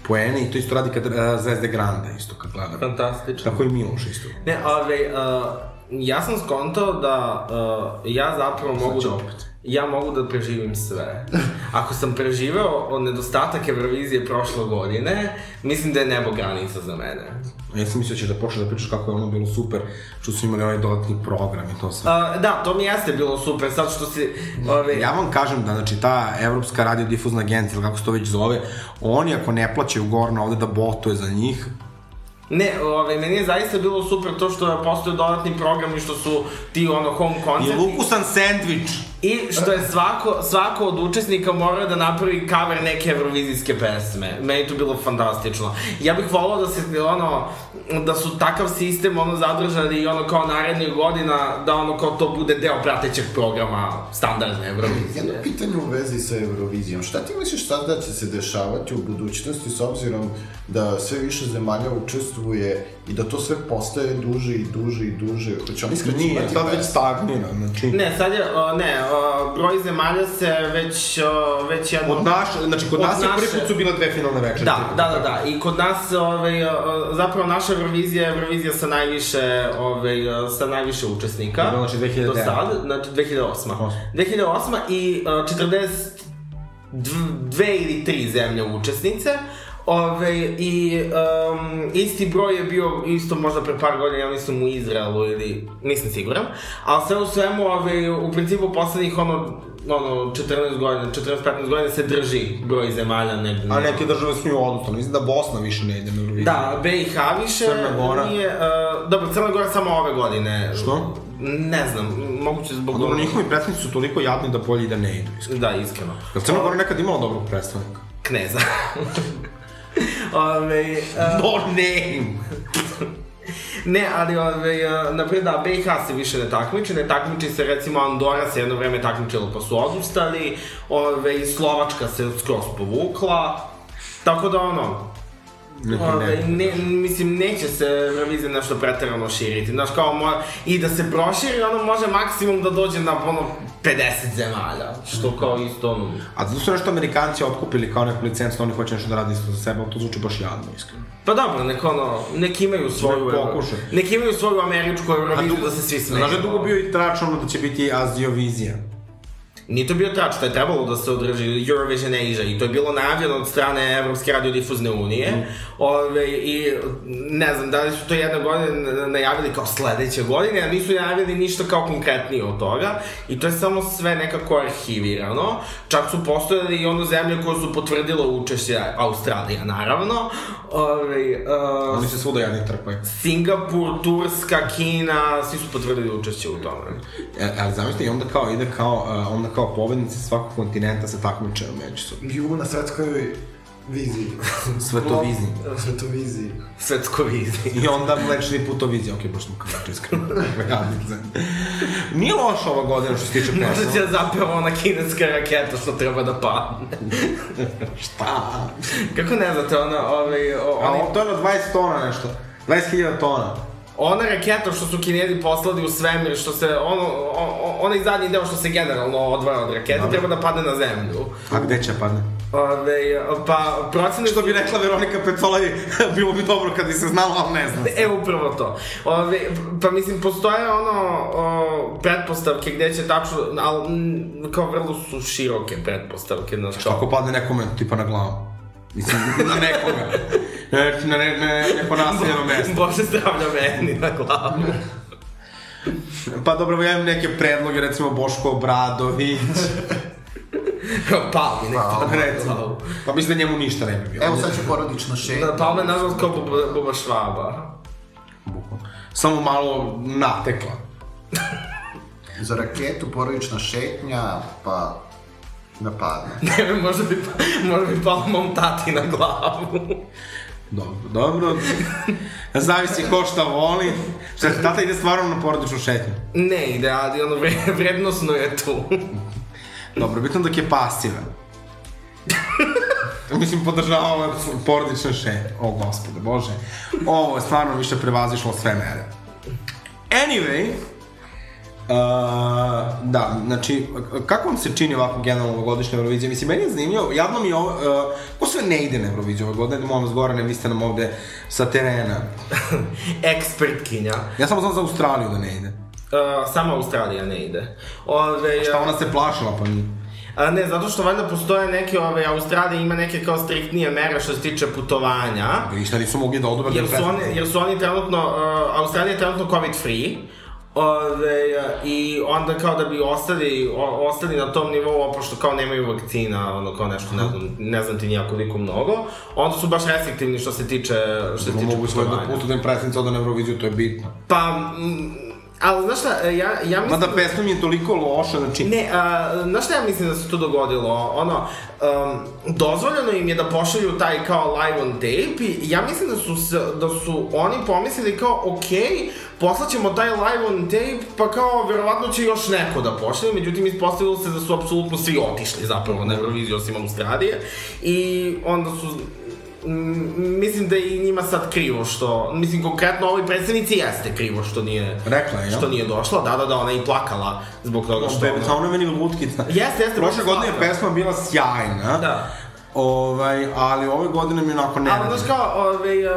Speaker 4: poene i to isto radi kad e, Zvezde Grande isto kad gleda.
Speaker 5: Fantastično.
Speaker 4: Tako i Miloš isto.
Speaker 5: Ne, ali, uh, ja sam skontao da uh, ja zapravo mogu
Speaker 4: Znači
Speaker 5: da...
Speaker 4: opet.
Speaker 5: Ja mogu da preživim sve. Ako sam preživeo od nedostatak Eurovizije prošle godine, mislim da je nebo granica za mene.
Speaker 4: Ja sam mislio da ćeš da počneš da pričaš kako je ono bilo super, što su imali ovaj dodatni program i to sve.
Speaker 5: Uh, da, to mi jeste bilo super, sad što si... Ove,
Speaker 4: Ja vam kažem da, znači, ta Evropska radiodifuzna agencija, ili kako se to već zove, oni ako ne plaćaju Gorna ovde da botuje za njih,
Speaker 5: Ne, ove, meni je zaista bilo super to što je postao dodatni program i što su ti ono home
Speaker 4: i
Speaker 5: koncerti.
Speaker 4: lukusan sandvič.
Speaker 5: I što je svako, svako od učesnika morao da napravi cover neke evrovizijske pesme. Meni je to bilo fantastično. Ja bih volao da se, ono, da su takav sistem, ono, zadržali i ono kao narednih godina, da ono kao to bude deo pratećeg programa standardne
Speaker 7: Jedno
Speaker 5: evrovizije.
Speaker 7: pitanje u vezi sa Eurovizijom. Šta ti misliš sad da će se dešavati u budućnosti s obzirom da sve više zemalja učestvuje i da to sve postaje duže i duže i duže? Hoće oni
Speaker 5: da
Speaker 4: Nije,
Speaker 7: skraćivati
Speaker 4: sad već
Speaker 7: pesme?
Speaker 4: stagnira, znači... Ne.
Speaker 5: Ne, sad je, o, ne, o, broj zemalja se već, o, već jedno...
Speaker 4: Od naše, znači, kod
Speaker 5: Od
Speaker 4: nas je prvi
Speaker 5: naše-
Speaker 4: put su bile dve finalne večere.
Speaker 5: Da, da, da, da. I kod nas, ovaj, o, zapravo naša Eurovizija je Eurovizija sa najviše, ovaj, o, sa najviše učesnika.
Speaker 4: Da, znači 2009.
Speaker 5: Do sad, znači 2008. 2008 i o, 42 ili 3 zemlje učesnice. Ove, i um, isti broj je bio isto možda pre par godina, ja mislim u Izraelu ili nisam siguran, ali sve u svemu ove, u principu poslednjih ono, ono 14 godina, 14-15 godina se drži broj zemalja negde.
Speaker 4: A neke države su nju odustane, mislim da Bosna više ne ide na Euroviziju.
Speaker 5: Da, BiH više
Speaker 4: Crna Gora.
Speaker 5: nije... Uh, dobro, Crna Gora samo ove godine.
Speaker 4: Što?
Speaker 5: Ne znam, m- moguće zbog...
Speaker 4: Dobro, njihovi predstavnici su toliko jadni da bolje i da ne idu, iskreno.
Speaker 5: Da, iskreno.
Speaker 4: Jel Crna Gora nekad imala dobrog predstavnika?
Speaker 5: Kneza. ove, uh,
Speaker 4: No name!
Speaker 5: ne, ali ove, uh, napred, da, BiH se više ne takmiči, ne takmiči se recimo Andora se jedno vreme takmičila pa su odustali, ove, i Slovačka se skroz povukla, tako da ono,
Speaker 4: Neki
Speaker 5: Ove,
Speaker 4: ne.
Speaker 5: ne, mislim, neće se revizija nešto preterano širiti, znaš, kao mo i da se proširi, ono može maksimum da dođe na, ono, 50 zemalja, što kao isto, ono,
Speaker 4: A zato su nešto Amerikanci otkupili kao neku licencu, oni hoće nešto da radi isto za sebe, ali to zvuči baš jadno, iskreno.
Speaker 5: pa dobro, nek, ono, nek imaju svoju,
Speaker 4: Nek
Speaker 5: euro-
Speaker 4: pokušaj.
Speaker 5: nek imaju svoju američku euroviziju
Speaker 4: dugo-
Speaker 5: da se svi smeju.
Speaker 4: Znaš da je dugo bio i trač ono da će biti Aziovizija.
Speaker 5: Nije to bio trač, to je trebalo da se održi Eurovision Asia i to je bilo najavljeno od strane Evropske radiodifuzne unije. Ove, I ne znam, da li su to jedne godine najavili kao sledeće godine, a nisu najavili ništa kao konkretnije od toga. I to je samo sve nekako arhivirano. Čak su postojali i ono zemlje koje su potvrdile učešće Australija, naravno. Ove, uh,
Speaker 4: Oni se svuda jadni trpaju.
Speaker 5: Singapur, Turska, Kina, svi su potvrdili učešće u tome.
Speaker 4: E, ali zamislite, i onda kao ide kao, e, onda kao pobednici svakog kontinenta se takmiče međusobno.
Speaker 7: Ju, na svetskoj viziji.
Speaker 4: Svetoviziji.
Speaker 7: Svetoviziji.
Speaker 5: Svetkovizni.
Speaker 4: I onda mlečni putovizija. Okej, baš smo kako iskreno. Nije loša ova godina što se tiče
Speaker 5: Možda
Speaker 4: pesma.
Speaker 5: će zapravo ona kineska raketa što treba da padne.
Speaker 4: Šta?
Speaker 5: Kako ne znate, ona, ovaj, o-
Speaker 4: A
Speaker 5: oni,
Speaker 4: ovo Pa, to je na 20 tona nešto. 20.000 tona.
Speaker 5: ona raketa što su kinezi poslali u svemir, što se, ono, o- o- onaj zadnji deo što se generalno odvaja od rakete, treba da padne na zemlju.
Speaker 4: A gde će padne?
Speaker 5: Ove, pa, procene
Speaker 4: Što bi rekla Veronika Pecolavi, bilo bi dobro kad bi se znala, ali ne zna se.
Speaker 5: E, upravo to. Ove, pa mislim, postoje ono o, pretpostavke gde će tačno, ali m, kao vrlo su široke pretpostavke. Znači,
Speaker 4: Što ako padne nekome, tipa na glavu? Mislim, na nekoga. E, Na ne, ne, neko naseljeno mesto.
Speaker 5: Bože zdravlja meni na glavu.
Speaker 4: Pa dobro, ja imam neke predloge, recimo Boško Obradović,
Speaker 5: Kao pao mi nekako.
Speaker 4: pa recimo. Pa mislim da njemu ništa ne bi bilo.
Speaker 6: Evo sad ću porodično šetnje.
Speaker 5: Da, pao me nazvao kao Buba, Buba Švaba.
Speaker 4: Samo malo natekla.
Speaker 7: Za raketu porodična šetnja, pa napadne.
Speaker 5: Ne vem, možda bi, pa- možda bi pao mom tati na glavu.
Speaker 4: Dobro, dobro. Zavisi ko šta voli. Šta, tata ide stvarno na porodičnu šetnju.
Speaker 5: Ne ide, ali ono vre- vrednosno je tu.
Speaker 4: Dobro, bitno dok je pasivan. Mislim, podržavam ove porodične šetnje. O, gospode, bože. Ovo je stvarno više prevazišlo sve mere. Anyway, Uh, da, znači, kako vam se čini ovako generalno ovogodišnja Eurovizija? Mislim, meni je zanimljivo, jadno mi je ovo, uh, ko sve ne ide na Euroviziju ove godine, molim vas Gorane, vi ste nam ovde sa terena.
Speaker 5: Ekspertkinja.
Speaker 4: Ja samo znam za Australiju da ne ide.
Speaker 5: Uh, sama Australija ne ide. Ove,
Speaker 4: Šta ona se plašila, pa nije.
Speaker 5: A ne, zato što valjda postoje neke, ove, Australija ima neke kao striktnije mere što se tiče putovanja.
Speaker 4: I šta nisu mogli da odobra
Speaker 5: Jer su oni, jer su oni trenutno, uh, Australija je trenutno covid free. Ove, a, I onda kao da bi ostali, o, ostali na tom nivou, pošto kao nemaju vakcina, ono kao nešto, ne znam, ne znam ti nijako koliko mnogo, onda su baš restriktivni što se tiče, što se tiče
Speaker 4: Mogu svoje da
Speaker 5: putovanja.
Speaker 4: putu da im predsjednica ode na Euroviziju, to je bitno.
Speaker 5: Pa, mm, ali znaš šta, ja, ja mislim...
Speaker 4: Mada pesma mi je toliko loša, znači...
Speaker 5: Ne, a, znaš šta ja mislim da se tu dogodilo? Ono, um, dozvoljeno im je da pošalju taj kao live on tape i ja mislim da su, se, da su oni pomislili kao, ok, poslaćemo taj live on tape, pa kao, verovatno će još neko da pošalje, međutim, ispostavilo se da su apsolutno svi otišli zapravo na Euroviziju, osim Australije, i onda su m, mislim da je i njima sad krivo što, mislim konkretno ovoj predsednici jeste krivo što nije
Speaker 4: Rekla je, jel?
Speaker 5: što nije došla, da da da ona je i plakala zbog toga što
Speaker 4: Bebe, samo meni lutkica.
Speaker 5: Jeste, jeste, baš
Speaker 4: Prošle
Speaker 5: je
Speaker 4: godine je
Speaker 5: slatko.
Speaker 4: pesma bila sjajna.
Speaker 5: Da.
Speaker 4: Ovaj, ali ove godine mi je onako ne.
Speaker 5: Ali znaš kao, ovaj, uh,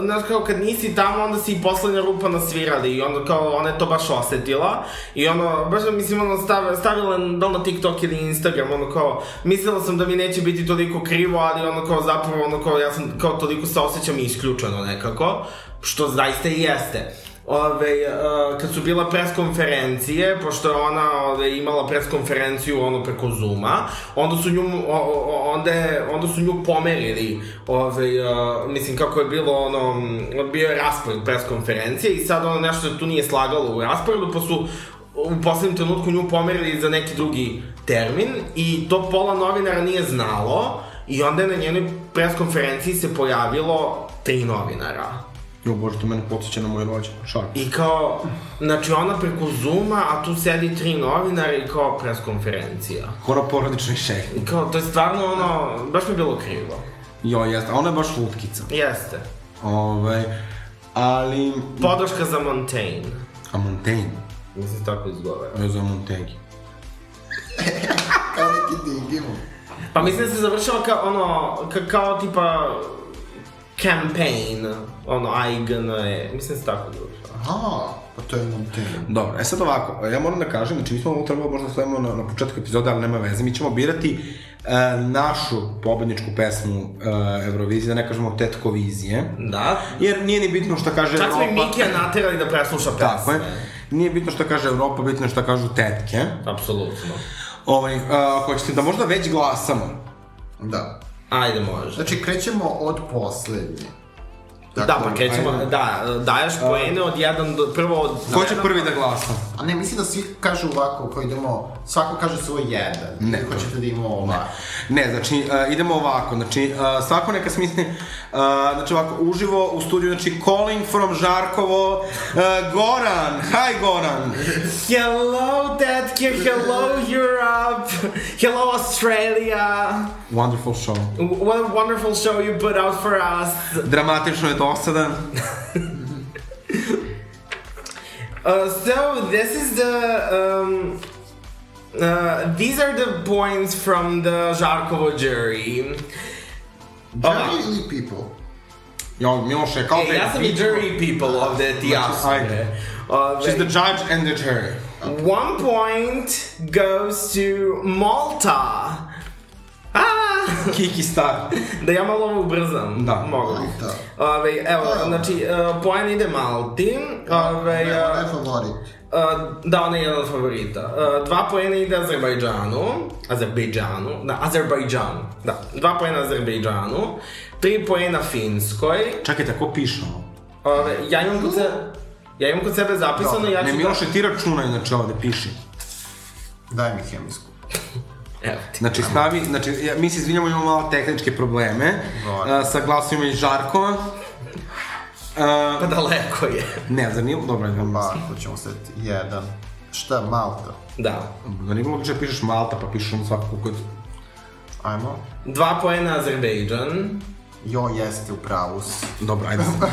Speaker 5: znaš kao kad nisi tamo, onda si i poslednja rupa nasvirali i onda kao, ona je to baš osetila i ono, baš da mislim, ono, stav, stavila je da li na TikTok ili Instagram, ono kao, mislila sam da mi neće biti toliko krivo, ali ono kao, zapravo, ono kao, ja sam kao toliko se osjećam isključeno nekako, što zaista i jeste. Ove, uh, kad su bila preskonferencije, pošto je ona ove, imala preskonferenciju ono preko Zuma, onda su nju, o, o, onda, je, onda su nju pomerili, ove, uh, mislim kako je bilo ono, m, bio je raspored preskonferencije i sad ono nešto tu nije slagalo u rasporedu, pa su u poslednjem trenutku nju pomerili za neki drugi termin i to pola novinara nije znalo i onda je na njenoj preskonferenciji se pojavilo tri novinara.
Speaker 4: Jo, bože, to mene podsjeća na moj rođen. Šalim.
Speaker 5: I kao, znači ona preko Zuma, a tu sedi tri novinara i kao preskonferencija.
Speaker 4: Kora porodični šeh.
Speaker 5: I kao, to je stvarno ono, baš mi je bilo krivo.
Speaker 4: Jo, jeste, a ona je baš lutkica.
Speaker 5: Jeste.
Speaker 4: Ovaj, ali...
Speaker 5: Podrška za Montaigne.
Speaker 4: A Montaigne?
Speaker 5: Mislim tako izgovara.
Speaker 4: Ja zovem Montaigne.
Speaker 7: Kao neki digimo.
Speaker 5: Pa mislim da se završava kao ono, ka, kao tipa campaign, ono, IGN je, mislim da se tako završava.
Speaker 7: Aha, pa to je Montaigne.
Speaker 4: Dobro, e sad ovako, ja moram da kažem, znači mi smo ovo trebalo možda stavimo na, na početku epizode, ali nema veze, mi ćemo birati e, našu pobedničku pesmu e, Eurovizije, da ne kažemo Tetkovizije,
Speaker 5: Da.
Speaker 4: jer nije ni bitno šta kaže
Speaker 5: Čak smo i
Speaker 4: Europa,
Speaker 5: Mikija naterali da presluša pesme.
Speaker 4: tako je, nije bitno šta kaže Europa, bitno je šta kažu tetke,
Speaker 5: Apsolutno.
Speaker 4: ovaj, e, ako ćete da možda već glasamo,
Speaker 7: Da.
Speaker 5: Ajde, može.
Speaker 7: Znači, krećemo od poslednje.
Speaker 5: Dakle, da, pa krećemo, da, daješ poene od 1 do, prvo od...
Speaker 4: Ko će prvi da glasa?
Speaker 7: A ne, mislim da svi kažu ovako, ako idemo, svako kaže svoj jedan.
Speaker 4: Ne.
Speaker 7: Ko ćete da imamo ovako.
Speaker 4: Ne, znači, uh, idemo ovako, znači, uh, svako neka smisli, uh, znači ovako, uživo u studiju, znači, calling from Žarkovo, uh, Goran, hi Goran!
Speaker 5: Hello, Detke, hello, Europe, hello, Australia,
Speaker 4: Wonderful show.
Speaker 5: what a wonderful show you put out for us.
Speaker 4: Dramatično je dosadan.
Speaker 5: Uh, so, this is the, um, uh, these are the points from the Žarkovo jury.
Speaker 4: Pa da.
Speaker 5: Oh,
Speaker 7: Jury ili people?
Speaker 4: Jo, Miloš je kao
Speaker 5: E,
Speaker 4: da je
Speaker 5: ja sam i
Speaker 4: bitch.
Speaker 5: jury people ovde, ti ja sam.
Speaker 4: ajde.
Speaker 5: Ove,
Speaker 4: She's the judge and the jury.
Speaker 5: One point goes to Malta. Ah!
Speaker 4: Kiki star.
Speaker 5: Da ja malo ovo ubrzam.
Speaker 4: Da.
Speaker 5: Mogu bih.
Speaker 7: Da.
Speaker 5: Ove, evo, znači, uh, poen ide Malti. Ove,
Speaker 7: Nema
Speaker 5: uh,
Speaker 7: ne favorit.
Speaker 5: uh, da, ona je jedan od favorita. Uh, dva poena ide Azerbajdžanu. Azerbajdžanu. Da, Azerbajdžanu. Da, dva poena Azerbajdžanu. Tri poena Finskoj.
Speaker 4: Čekajte, ko piše ovo?
Speaker 5: Ove, ja imam kod sebe... Ja imam kod sebe zapisano, ja ću...
Speaker 4: Ne,
Speaker 5: da-
Speaker 4: Miloše, ti računaj, znači, ovde piši.
Speaker 7: Daj mi hemijsku.
Speaker 5: da- Evo ti.
Speaker 4: Znači, stavi, znači, ja, mi se izvinjamo, imamo malo tehničke probleme.
Speaker 7: Dobro.
Speaker 4: Uh, sa glasovima iz Žarkova. Uh,
Speaker 5: Pa daleko je.
Speaker 4: ne, zar nije... Dobro, ne,
Speaker 7: Pa,
Speaker 4: ma.
Speaker 7: ako ćemo staviti jedan. Šta, Malta?
Speaker 5: Da.
Speaker 4: Da nije moguće da pišeš Malta, pa pišeš ono svakako kod...
Speaker 7: Ajmo.
Speaker 5: Dva poena Azerbejdžan.
Speaker 7: Jo, jeste u pravu. si.
Speaker 4: Dobro, ajde sad.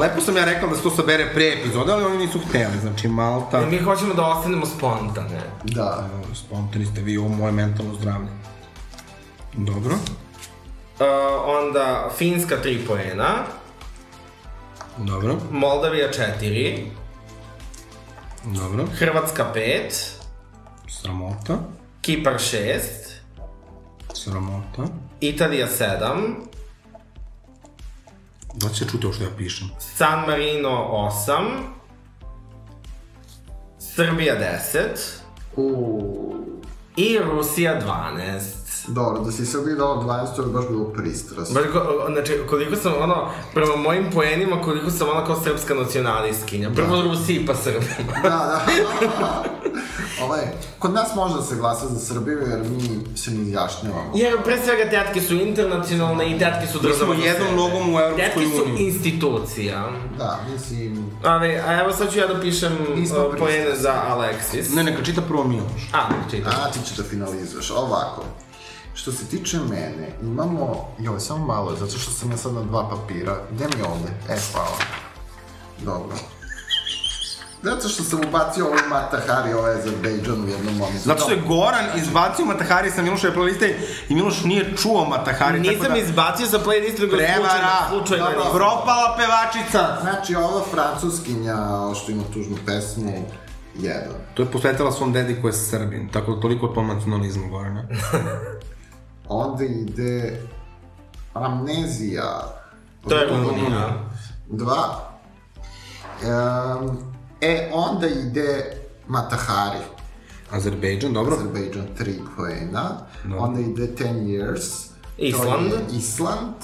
Speaker 4: Lepo sam ja rekao da se to sabere pre epizode, ali oni nisu hteli, znači Malta...
Speaker 5: Mi hoćemo da ostanemo spontane.
Speaker 7: Da.
Speaker 4: Evo, Spontani ste vi, ovo moje mentalno zdravlje. Dobro.
Speaker 5: Uh, onda Finska 3 poena,
Speaker 4: Dobro,
Speaker 5: Moldavija 4,
Speaker 4: dobro.
Speaker 5: Hrvatska 5,
Speaker 4: Sramota,
Speaker 5: Kipar 6,
Speaker 4: sramota.
Speaker 5: Italija 7,
Speaker 4: Da li se čuti ovo što ja pišem?
Speaker 5: San Marino 8, Srbija 10
Speaker 7: U...
Speaker 5: i Rusija 12.
Speaker 7: Dobro, da si se ogledala 12, to bi baš bilo pristrasno.
Speaker 5: Baš, ko- znači, koliko sam ono, prema mojim poenima, koliko sam ona kao srpska nacionalistkinja. Prvo Rusiji, pa Srbima.
Speaker 7: Da, da. Ovaj, kod nas može da se glasa za Srbiju, jer mi se ne izjašnjavamo.
Speaker 5: Jer pre svega tetke su internacionalne i tetke su
Speaker 4: Mi
Speaker 5: država.
Speaker 4: smo
Speaker 5: za
Speaker 4: jednom
Speaker 5: sebe.
Speaker 4: nogom u Evropskoj
Speaker 5: Tetke su
Speaker 4: uniji.
Speaker 5: institucija.
Speaker 7: Da, mislim...
Speaker 5: Ove, a evo sad ću ja da pišem
Speaker 7: Nismo
Speaker 5: uh, poene za Alexis.
Speaker 4: Ne, neka čita prvo Miloš.
Speaker 5: A, čitaj.
Speaker 7: A, ti ćeš da finalizuješ. Ovako, što se tiče mene, imamo... Joj, samo malo, zato što sam ja sad na dva papira. Gde mi je ovde? E, hvala. Dobro. Zato što sam ubacio ovaj Mata Hari, ovaj Azerbejdžan u jednom momentu.
Speaker 4: Zato što je Goran izbacio Matahari sa Miloševe playliste i Miloš nije čuo da- Matahari,
Speaker 5: Nisam izbacio sa playlistu, nego slučajno,
Speaker 4: Prevara!
Speaker 5: slučajno.
Speaker 4: Dobro.
Speaker 5: nisam.
Speaker 4: Propala pevačica!
Speaker 7: Znači, ova francuskinja što ima tužnu pesmu, jedan.
Speaker 4: To je posvetila svom dedi koji je srbin, tako da toliko o tom nacionalizmu Gorana.
Speaker 7: Onda ide Amnezija.
Speaker 5: To je Rumunija.
Speaker 7: Dva. Ehm, e, onda ide Matahari,
Speaker 4: Azerbejdžan, dobro.
Speaker 7: Azerbejdžan, tri poena. Onda ide Ten Years. to je
Speaker 5: Island.
Speaker 7: Island.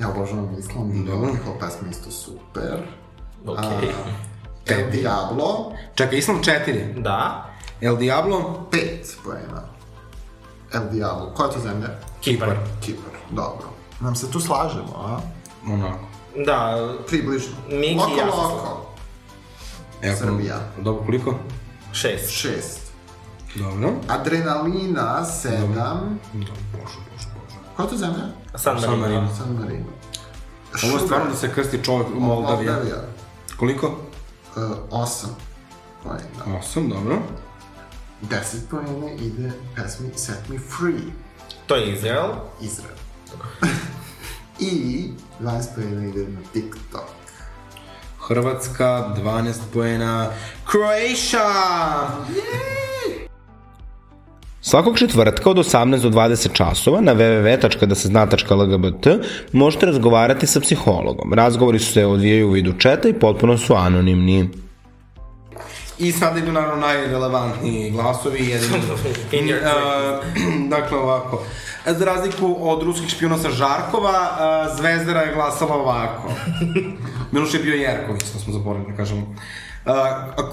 Speaker 7: Ja obožavam Island, i njihova pesma isto super.
Speaker 5: Okej.
Speaker 7: El Diablo,
Speaker 4: Čekaj, Islam 4.
Speaker 5: Da.
Speaker 4: El Diablo?
Speaker 7: pet poena. El Diablo, koja je to zemlja?
Speaker 5: Kipar.
Speaker 7: Kipar, dobro. Nam se tu slažemo, a?
Speaker 4: Onako.
Speaker 5: Da.
Speaker 7: Približno.
Speaker 5: Miki i
Speaker 7: Loko,
Speaker 5: ja se
Speaker 7: loko.
Speaker 4: Evo,
Speaker 7: Srbija.
Speaker 4: E, Dobro, koliko?
Speaker 5: Šest.
Speaker 7: Šest.
Speaker 4: Dobro.
Speaker 7: Adrenalina, sedam.
Speaker 4: Dobro, bože, bože, bože.
Speaker 7: Koja je to zemlja?
Speaker 5: San Marino.
Speaker 4: San Marino.
Speaker 7: San Marino.
Speaker 4: Ovo je
Speaker 7: Sugar,
Speaker 4: stvarno da se krsti čovjek u Moldaviji.
Speaker 7: Moldavija.
Speaker 4: Koliko?
Speaker 7: E, osam. Pojena.
Speaker 4: 8, dobro.
Speaker 7: Deset pojene ide pesmi Set Me Free,
Speaker 5: To je Izrael.
Speaker 7: Izrael. I 12 pojena ide na TikTok.
Speaker 4: Hrvatska, 12 poena. Croatia!
Speaker 3: Svakog četvrtka od 18 do 20 časova na www.dasezna.lgbt možete razgovarati sa psihologom. Razgovori su se odvijaju u vidu četa i potpuno su anonimni.
Speaker 4: I sada idu naravno najrelevantniji glasovi. Jedan,
Speaker 5: In your
Speaker 4: Uh, dakle ovako. Za razliku od ruskih špijuna sa Žarkova, uh, Zvezdara je glasala ovako. Miloš je bio Jerković, to smo zaboravili da kažemo. Uh,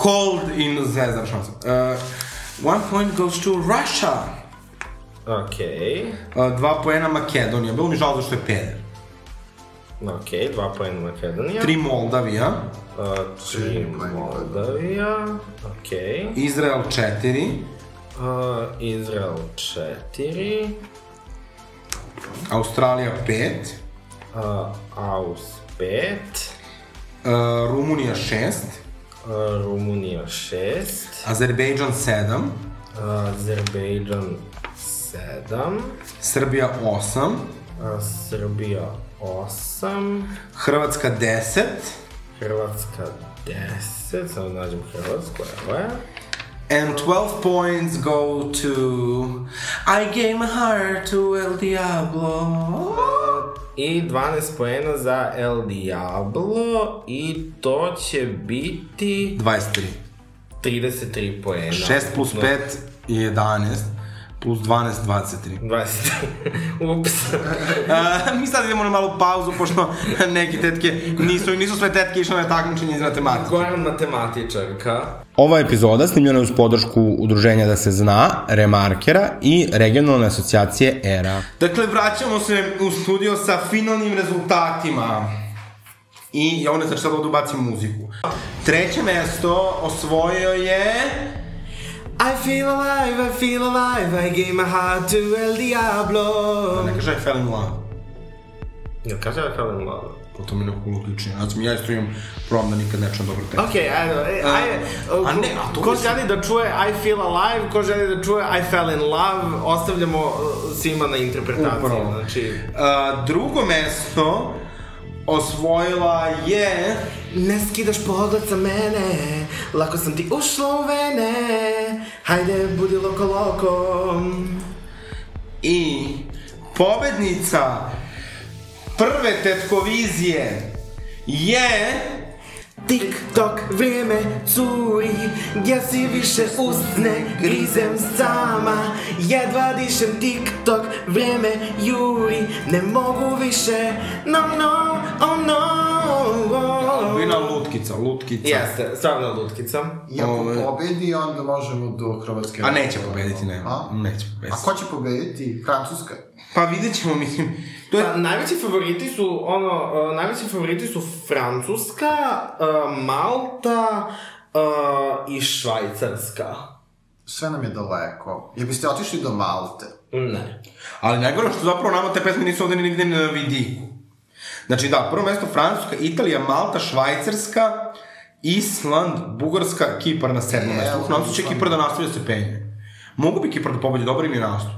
Speaker 4: cold in Zvezdara, šansa. Uh, one point goes to Russia.
Speaker 5: Okej,
Speaker 4: Uh, dva poena Makedonija. Bilo mi žao zašto je peder.
Speaker 5: okej, dva pojena Makedonija.
Speaker 4: Tri Moldavija,
Speaker 5: A, Tri Moldavija. Okej.
Speaker 4: Izrael četiri,
Speaker 5: A, Izrael četiri.
Speaker 4: Australija pet,
Speaker 5: A, Aus pet.
Speaker 4: uh, Rumunija šest,
Speaker 5: A, Rumunija šest.
Speaker 4: Azerbejdžan sedam,
Speaker 5: Azerbejdžan sedam.
Speaker 4: Srbija 8,
Speaker 5: A, Srbija osam.
Speaker 4: Hrvatska 10,
Speaker 5: Hrvatska deset. Samo da nađem Hrvatsku, evo je.
Speaker 4: and 12 points go to I gave my heart to El Diablo.
Speaker 5: I 12 poena za El Diablo i to će biti
Speaker 4: 23.
Speaker 5: 33 poena.
Speaker 4: 6 plus 5 je 11, plus 12, 23.
Speaker 5: 20. Ups.
Speaker 4: Uh, mi sad idemo na malu pauzu, pošto neke tetke nisu, nisu sve tetke išle na takmičenje iz matematike.
Speaker 5: Goran matematičarka.
Speaker 3: Ova epizoda snimljena je uz podršku udruženja Da se zna, Remarkera i regionalne asocijacije E ERA.
Speaker 4: Dakle, vraćamo se u studio sa finalnim rezultatima. I ja ovdje sad šta da ovdje ubacim muziku. Treće mesto osvojio je...
Speaker 5: I feel alive, I feel alive, I gave my heart to El Diablo.
Speaker 4: Ne kaže I fell in love.
Speaker 5: Jel kaže da kao malo?
Speaker 4: Pa to mi je nekako uključenje. Znači, ja isto imam problem da nikad nečem dobro tekst.
Speaker 5: Okej, ajde, e, ajde,
Speaker 4: a ne, a to
Speaker 5: ko
Speaker 4: mislim-
Speaker 5: želi da čuje I feel alive, ko želi da čuje I fell in love, ostavljamo uh, svima na interpretaciju,
Speaker 4: Upravo.
Speaker 5: znači...
Speaker 4: Uh, drugo mesto osvojila je...
Speaker 5: Ne skidaš pogled sa mene, lako sam ti ušla u vene, hajde budi loko loko.
Speaker 4: I pobednica prve tetkovizije je...
Speaker 5: Tik tok, vrijeme curi, ja si više usne, grizem sama, jedva dišem tik tok, vrijeme juri, ne mogu više, no no, oh no.
Speaker 4: Vina lutkica, lutkica.
Speaker 5: Jeste, stvarno lutkica.
Speaker 7: I ako
Speaker 4: Ovaj.
Speaker 7: pobedi, onda možemo do Hrvatske.
Speaker 4: A neće pobediti, ne.
Speaker 7: A?
Speaker 4: Neće pobediti.
Speaker 7: A ko će pobediti? Francuska?
Speaker 4: Pa vidjet ćemo, mislim. To je...
Speaker 5: Pa, najveći favoriti su ono, uh, najveći favoriti su Francuska, uh, Malta uh, i Švajcarska.
Speaker 7: Sve nam je daleko. Jer biste otišli do Malte.
Speaker 5: Ne.
Speaker 4: Ali najgore što zapravo nama te pesme nisu ovde nigde na vidiku. Znači da, prvo mesto Francuska, Italija, Malta, Švajcarska, Island, Bugarska, Kipar na sedmom
Speaker 7: E,
Speaker 4: mestu.
Speaker 7: evo,
Speaker 4: Nam se će
Speaker 7: Island.
Speaker 4: Kipar da nastavlja se penje. Mogu bi Kipar da pobedi, dobar im je nastup.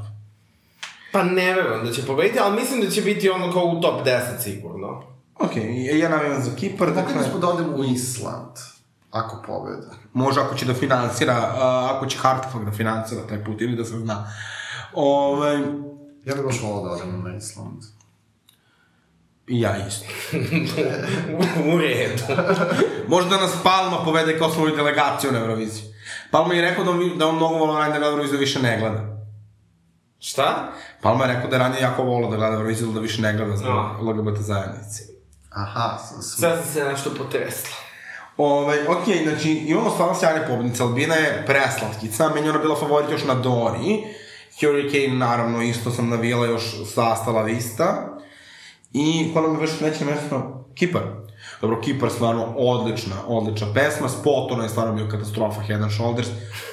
Speaker 5: Pa ne verujem da će pobediti, ali mislim da će biti ono kao u top 10 sigurno.
Speaker 4: Ok, ja navijam za Kipar,
Speaker 7: Mogli
Speaker 4: dakle,
Speaker 7: bismo da odemo u Island. Ako pobede.
Speaker 4: može ako će da finansira, a, ako će Hartfag da finansira taj put, ili da se zna. Ove,
Speaker 7: Ja bih baš volao da odemo na Island.
Speaker 4: i ja isto.
Speaker 5: u redu.
Speaker 4: Možda nas Palma povede kao svoju delegaciju na Euroviziji. Palma je rekao da on, da on mnogo volao ranije da gleda Euroviziju, da više ne gleda.
Speaker 5: Šta?
Speaker 4: Palma je rekao da je ranije jako volao da gleda Euroviziju, ali da više ne gleda zbog
Speaker 5: A.
Speaker 4: LGBT zajednice.
Speaker 7: Aha, sam sve.
Speaker 5: Sad sam se nešto potresla.
Speaker 4: Ovaj, ok, znači imamo stvarno sjajne pobednice. Albina je preslatkica, meni je ona bila favorit još na Dori. Hurricane, naravno, isto sam navijela još sastala lista. I ko nam je već treće mesto? Kipar. Dobro, Kipar stvarno odlična, odlična pesma. Spot, ona je stvarno bio katastrofa, Head and Shoulders,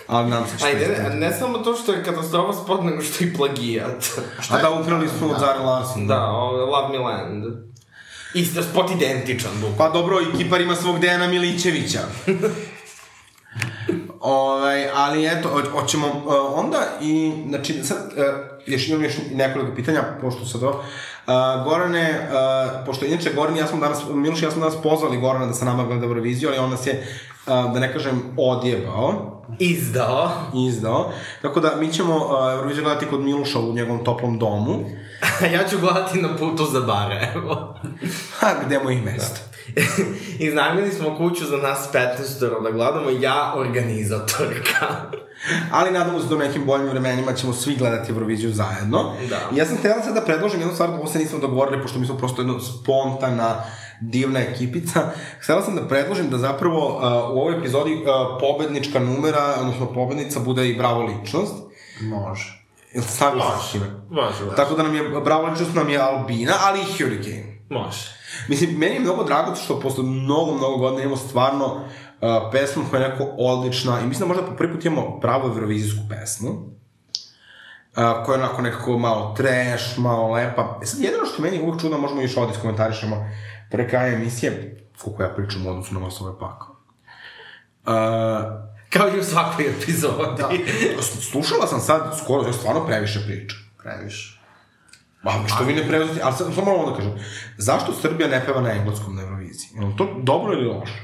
Speaker 4: ali nam se
Speaker 5: Ajde,
Speaker 4: izdati.
Speaker 5: Pa ne, ne samo to što je katastrofa spod, nego što je i plagijat.
Speaker 4: A da, ukrali su od Zara Larson.
Speaker 5: da, ovo, Love Me Land. Isto spot identičan, bukvalno.
Speaker 4: Pa dobro, i Kipar ima svog Dejana Milićevića. ovaj, ali eto, ho- hoćemo uh, onda i, znači, sad, uh, još imam još nekoliko pitanja, pošto sad ovo. Uh, Gorane, uh, pošto inače Goran i ja smo danas, Miloš i ja smo danas pozvali Gorana da sa nama gleda Euroviziju, ali on nas je, uh, da ne kažem, odjebao
Speaker 5: Izdao.
Speaker 4: e, izdao. Tako da mi ćemo uh, Euroviziju gledati kod Miloša u njegovom toplom domu.
Speaker 5: ja ću gledati na putu za bare, evo.
Speaker 4: Ha, gde mu je i mesto?
Speaker 5: Iznajmili smo kuću za nas 15 da gledamo ja organizatorka.
Speaker 4: Ali nadamo se da u nekim boljim vremenima ćemo svi gledati Euroviziju zajedno.
Speaker 5: Da.
Speaker 4: I ja sam htjela sad da predložim jednu stvar, ovo se nismo dogovorili, pošto mi smo prosto jedna spontana, divna ekipica. Htjela sam da predložim da zapravo uh, u ovoj epizodi uh, pobednička numera, odnosno pobednica bude i bravo ličnost.
Speaker 7: Može.
Speaker 4: Jel se saglasni s time?
Speaker 5: Može, da.
Speaker 4: Tako da nam je, bravo ličnost nam je Albina, ali i Hurricane.
Speaker 5: Može.
Speaker 4: Mislim, meni je mnogo drago što posle mnogo, mnogo godina imamo stvarno uh, pesmu koja je nekako odlična i mislim da možda po prvi put imamo pravu evrovizijsku pesmu uh, koja je onako nekako malo trash, malo lepa. E sad, jedino što je meni uvijek čudno, možemo još ovdje iskomentarišemo pre kraja emisije, koliko ja pričam u odnosu na vas ovo je pakao. Uh,
Speaker 5: Kao i u svakoj epizodi.
Speaker 4: da. Slušala sam sad skoro, ja stvarno previše pričam.
Speaker 7: Previše.
Speaker 4: Ma, što vi ne preuzeti, ali sad, samo moram ovo da kažem, zašto Srbija ne peva na engleskom na Euroviziji? Je li to dobro ili loše?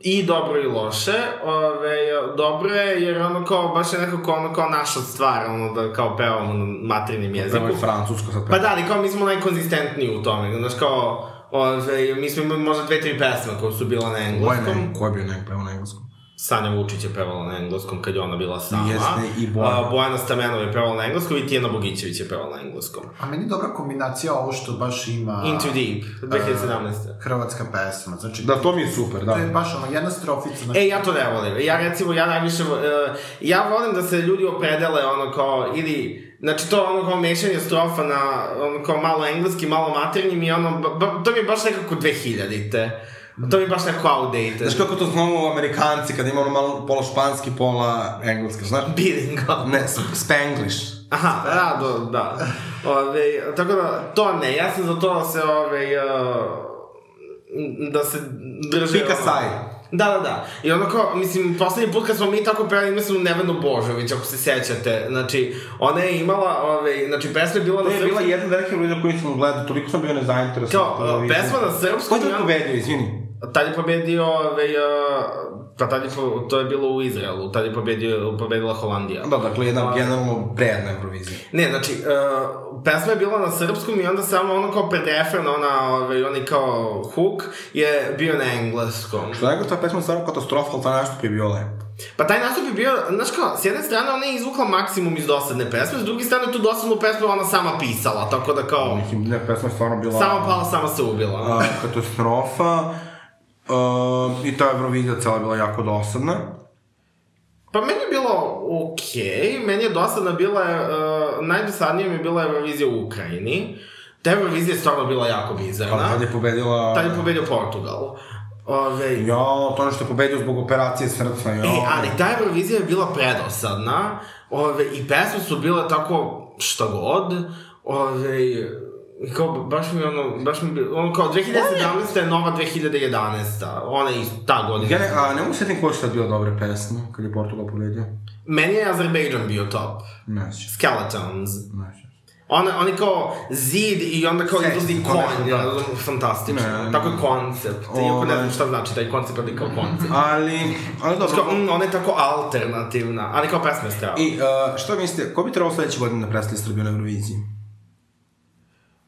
Speaker 5: I dobro i loše. Ove, dobro je jer ono kao, baš je nekako ono kao naša stvar, ono da kao pevamo na maternjem jeziku.
Speaker 4: Prvo je francusko sad
Speaker 5: Pa
Speaker 4: peva.
Speaker 5: da, ali kao mi smo najkonzistentniji u tome, znaš kao, ove, mi smo imali možda dve, tri pesme koje su bila na
Speaker 4: Ko je,
Speaker 5: engleskom.
Speaker 4: ne, ko je bio nek pevao na engleskom?
Speaker 5: Sanja Vučić je pevala na engleskom kad je ona bila sama.
Speaker 4: Jeste, i Bojana.
Speaker 5: A, Bojana Stamenova je pevala na engleskom i Tijena Bogićević je pevala na engleskom.
Speaker 7: A meni je dobra kombinacija ovo što baš ima...
Speaker 5: Into Deep, 2017.
Speaker 7: Hrvatska pesma. Znači,
Speaker 4: Da, to mi je super, da.
Speaker 7: to je baš ono, jedna strofica. Znači,
Speaker 5: E, ja to ne volim. Ja recimo, ja najviše, vo- e, ja volim da se ljudi opredele ono kao, ili, znači to je ono kao mešanje strofa na, ono kao malo engleski, malo maternjim i ono, ba- ba- to mi je baš nekako 2000-te. To mi je baš nekako outdated.
Speaker 4: Znaš kako to znamo amerikanci, kad ima ono malo pola španski, pola engleski, znaš?
Speaker 5: Bilingo.
Speaker 4: Ne, sp- spanglish.
Speaker 5: Aha, da, do, da. Ove, tako da, to ne, ja sam za to da se, ove, da se drže...
Speaker 4: Pika
Speaker 5: ono-
Speaker 4: saj.
Speaker 5: Da, da, da. I ono kao, mislim, poslednji put kad smo mi tako pevali, imali smo Nevenu Božović, ako se sećate. Znači, ona je imala, ove, znači, pesma je bila
Speaker 4: To
Speaker 5: na
Speaker 4: je
Speaker 5: srpskom...
Speaker 4: bila jedna velika ljudi koju sam gledao, toliko sam bio nezainteresan.
Speaker 5: Kao, a, pesma da na
Speaker 4: Ko
Speaker 5: srpskom...
Speaker 4: je to
Speaker 5: ja-
Speaker 4: pobedio, izvini?
Speaker 5: Tad je pobedio, ove, e, pa tad je, po- to je bilo u Izraelu, tad je pobedio, pobedila Holandija.
Speaker 4: Da, dakle, jedna generalno prejedna Eurovizija.
Speaker 5: Ne, znači, uh, pesma je bila na srpskom i onda samo ono kao pred refren, ona, ovaj, onaj kao hook je bio na engleskom.
Speaker 4: Što je nego, ta pesma je stvarno katastrofa, ali ta nastup je bio lepo.
Speaker 5: Pa taj nastup je bio, znaš kao, s jedne strane ona je izvukla maksimum iz dosadne pesme, s druge strane tu dosadnu pesmu je ona sama pisala, tako da kao,
Speaker 4: Mislim, ne, pesma je stvarno bila...
Speaker 5: sama pala, sama se ubila.
Speaker 4: a, katastrofa. Uh, I ta Eurovizija cela je bila jako dosadna.
Speaker 5: Pa meni je bilo okej, meni je dosadna bila, uh, najdosadnija mi je bila Eurovizija u Ukrajini. Ta Eurovizija je stvarno bila jako
Speaker 4: Ali
Speaker 5: bizarna.
Speaker 4: tad Pa, je pa- pobedila...
Speaker 5: Tad je pobedio Portugal. Ove,
Speaker 4: Jo, to nešto je pobedio zbog operacije srca, jo.
Speaker 5: E, ali ta Eurovizija je bila predosadna, ove, i pesme su bile tako šta god, ove, i kao, baš mi je ono, baš mi je bilo, ono kao 2017. je nova 2011. Ona je iz- ta godina.
Speaker 4: Ja ne, a ne mogu sjetim koja su tad bila dobre pesme, kad je Portugal pobedio.
Speaker 5: Meni je Azerbejdžan bio top.
Speaker 4: Ne sjećam,
Speaker 5: Skeletons.
Speaker 4: ne sjećam.
Speaker 5: Ona, oni kao zid i onda kao
Speaker 4: Sećam
Speaker 5: izlazi
Speaker 4: se, to
Speaker 5: konj,
Speaker 4: nešto,
Speaker 5: ja
Speaker 4: da.
Speaker 5: razumem,
Speaker 4: Ne,
Speaker 5: fantastično.
Speaker 4: ne.
Speaker 5: Tako je koncept, iako ne znam
Speaker 4: Ovaj.
Speaker 5: šta znači taj koncept, ali kao koncept.
Speaker 4: Ali, ali dobro.
Speaker 5: Kao, mm, ona je tako alternativna, ali kao pesma je strava.
Speaker 4: I uh, što mislite, ko bi trebalo sledeće godine da predstavi Srbiju na Euroviziji?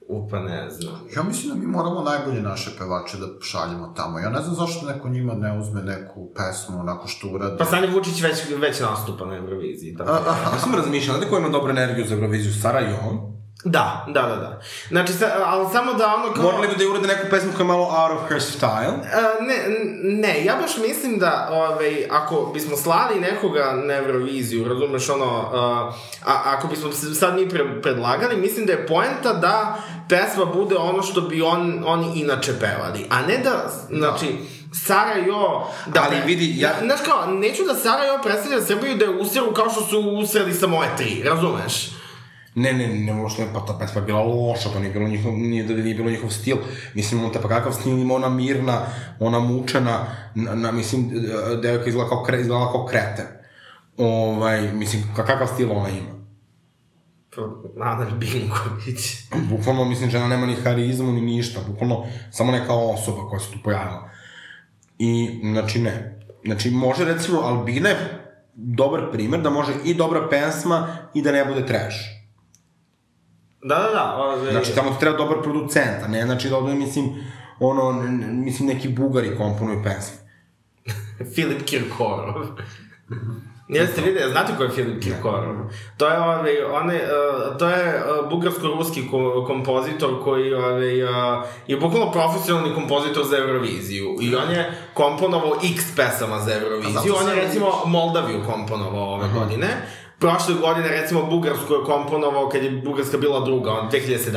Speaker 5: Upa, pa ne znam.
Speaker 4: E-
Speaker 7: Ja mislim da mi moramo najbolje naše pevače da šaljemo tamo. Ja ne znam zašto neko njima ne uzme neku pesmu onako što uradi.
Speaker 5: Pa Sanja Vučić već, već nastupa na Euroviziji. Tako.
Speaker 4: A, ja sam razmišljala, znate ko ima dobru energiju za Euroviziju? Sara Johan.
Speaker 5: Da, da, da, da. Znači, sa, ali samo da ono kao...
Speaker 4: Morali bi da urade neku pesmu koja je malo out of her style.
Speaker 5: A, E, ne, ne, ja baš mislim da ovaj, ako bismo slali nekoga na Euroviziju, razumeš ono, a, a, ako bismo se sad mi pre, predlagali, mislim da je poenta da pesma bude ono što bi on, oni inače pevali, a ne da, znači, Sara Jo... Da
Speaker 4: Ali vidi, ja-
Speaker 5: Znaš kao, neću da Sara Jo predstavlja Srbiju da je usiru kao što su usreli sa moje tri, razumeš?
Speaker 4: Ne, ne, ne, možeš ne, pa ta pesma je bila loša, to nije bilo njihov, nije, da nije bilo njihov stil. Mislim, on te pa kakav stil ima ona mirna, ona mučena, na, na mislim, e, devojka izgleda kao, kre, izgleda kao kreten. Ovaj, mislim, ka- kakav stil ona ima.
Speaker 5: Pa, Ana Binković.
Speaker 4: Bukvalno, mislim, žena nema ni harizmu, ni ništa, bukvalno, samo neka osoba koja se tu pojavila. I, znači, ne. Znači, može, recimo, Albina je dobar primer da može i dobra pesma i da ne bude trash.
Speaker 5: Da, da, da. Ove,
Speaker 4: Znači, tamo ti treba dobar producent, a ne znači da odmah, mislim, ono, n- n- mislim, neki bugari komponuju pesme.
Speaker 5: Filip Kirkorov. Jeste videli, znate ko je Filip Kirkorov? To je, ovaj, one, to je uh, bugarsko-ruski ko- kompozitor koji ovaj, uh, je bukvalno profesionalni kompozitor za Euroviziju. I on je komponovao x pesama za Euroviziju. On je recimo Moldaviju komponovao ove godine. Prošle godine recimo Bugarsku je komponovao kad je Bugarska bila druga, on 2017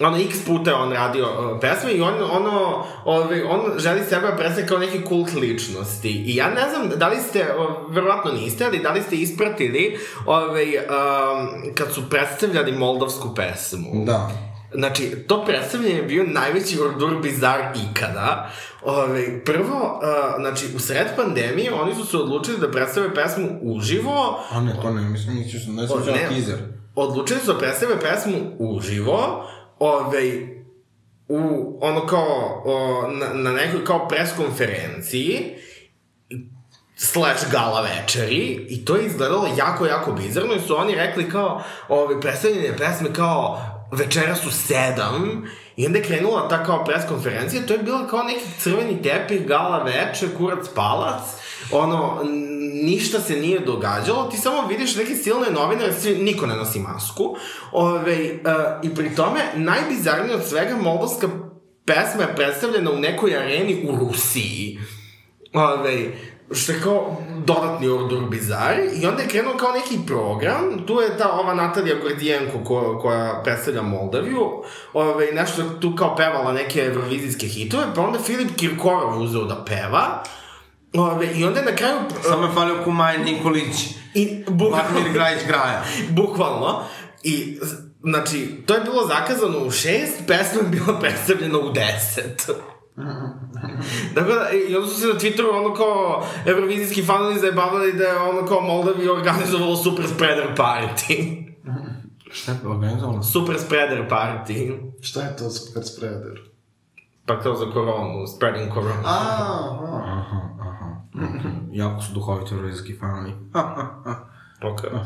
Speaker 5: ono, x puta je on radio uh, pesme i on, ono, ovaj, on želi sebe predstavlja kao neki kult ličnosti. I ja ne znam da li ste, o, verovatno niste, ali da li ste ispratili ovaj, um, kad su predstavljali moldavsku pesmu.
Speaker 4: Da.
Speaker 5: Znači, to predstavljanje je bio najveći ordur bizar ikada. Ove, prvo, uh, znači, u sred pandemije oni su se odlučili da predstave pesmu uživo,
Speaker 4: A ne, to ne, mislim, mislim, ne
Speaker 5: O,
Speaker 4: sam
Speaker 5: ne.
Speaker 4: čeo teaser.
Speaker 5: odlučili su da predstave pesmu uživo, ovaj, u, ono kao, o, na, na nekoj kao preskonferenciji, slash gala večeri i to je izgledalo jako, jako bizarno i su oni rekli kao, ove, predstavljene pesme kao večera su sedam i onda je krenula ta kao preskonferencija, to je bilo kao neki crveni tepih, gala večer, kurac palac, ono, n- ništa se nije događalo, ti samo vidiš neke silne novinare, svi, niko ne nosi masku, ove, e, i pri tome, najbizarnije od svega, moldovska pesma je predstavljena u nekoj areni u Rusiji. Ove, što je kao dodatni ordur bizar i onda je krenuo kao neki program tu je ta ova Natalija Gordijenko ko, koja predstavlja Moldaviju ove, nešto je tu kao pevala neke evrovizijske hitove pa onda Filip Kirkorov uzeo da peva ove, i onda je na kraju
Speaker 4: Samo je falio Kumaj Nikolić,
Speaker 5: i, bukvalno,
Speaker 4: Vladimir Grajić Graja.
Speaker 5: bukvalno i znači to je bilo zakazano u šest pesma je bila predstavljena u deset Tako da, i onda su se na Twitteru ono kao evrovizijski fanovi zajebavali da je ono kao Moldavi organizovalo super spreader party.
Speaker 4: Šta je organizovano?
Speaker 5: super spreader party.
Speaker 7: Šta je to super spreader?
Speaker 5: Pa kao za koronu, spreading koronu.
Speaker 7: A, aha.
Speaker 4: Aha, aha. Mhm. jako su duhoviti eurovizijski fanovi.
Speaker 5: Pokaj.
Speaker 4: Uh,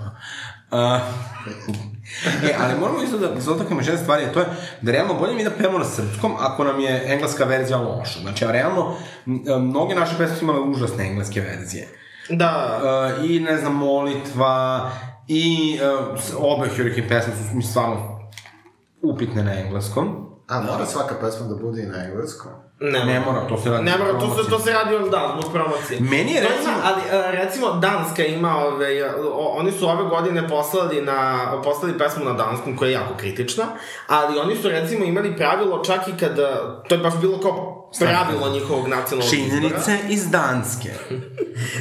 Speaker 4: e, ali moramo isto da se dotaknemo još jedne stvari, a to je da realno bolje mi da pevamo na srpskom ako nam je engleska verzija loša. Znači, a realno, m, e, mnoge naše pesme su imale užasne engleske verzije.
Speaker 5: Da,
Speaker 4: E, I, ne znam, molitva, i e, s- obe Hurricane pesme su mi stvarno upitne na engleskom.
Speaker 7: A mora svaka pesma da bude i na engleskom?
Speaker 5: ne,
Speaker 4: Ne mora, to da se radi.
Speaker 5: Ne mora, to
Speaker 4: promocije.
Speaker 5: se, to se radi on da, zbog promocije.
Speaker 4: Meni je
Speaker 5: To
Speaker 4: recimo...
Speaker 5: Ima, ali e, recimo Danska ima ove, o, oni su ove godine poslali, na, poslali pesmu na danskom koja je jako kritična, ali oni su recimo imali pravilo čak i kada, to je baš bilo kao pravilo njihovog nacionalnog izbora.
Speaker 4: Činjenice iz Danske.
Speaker 5: Da.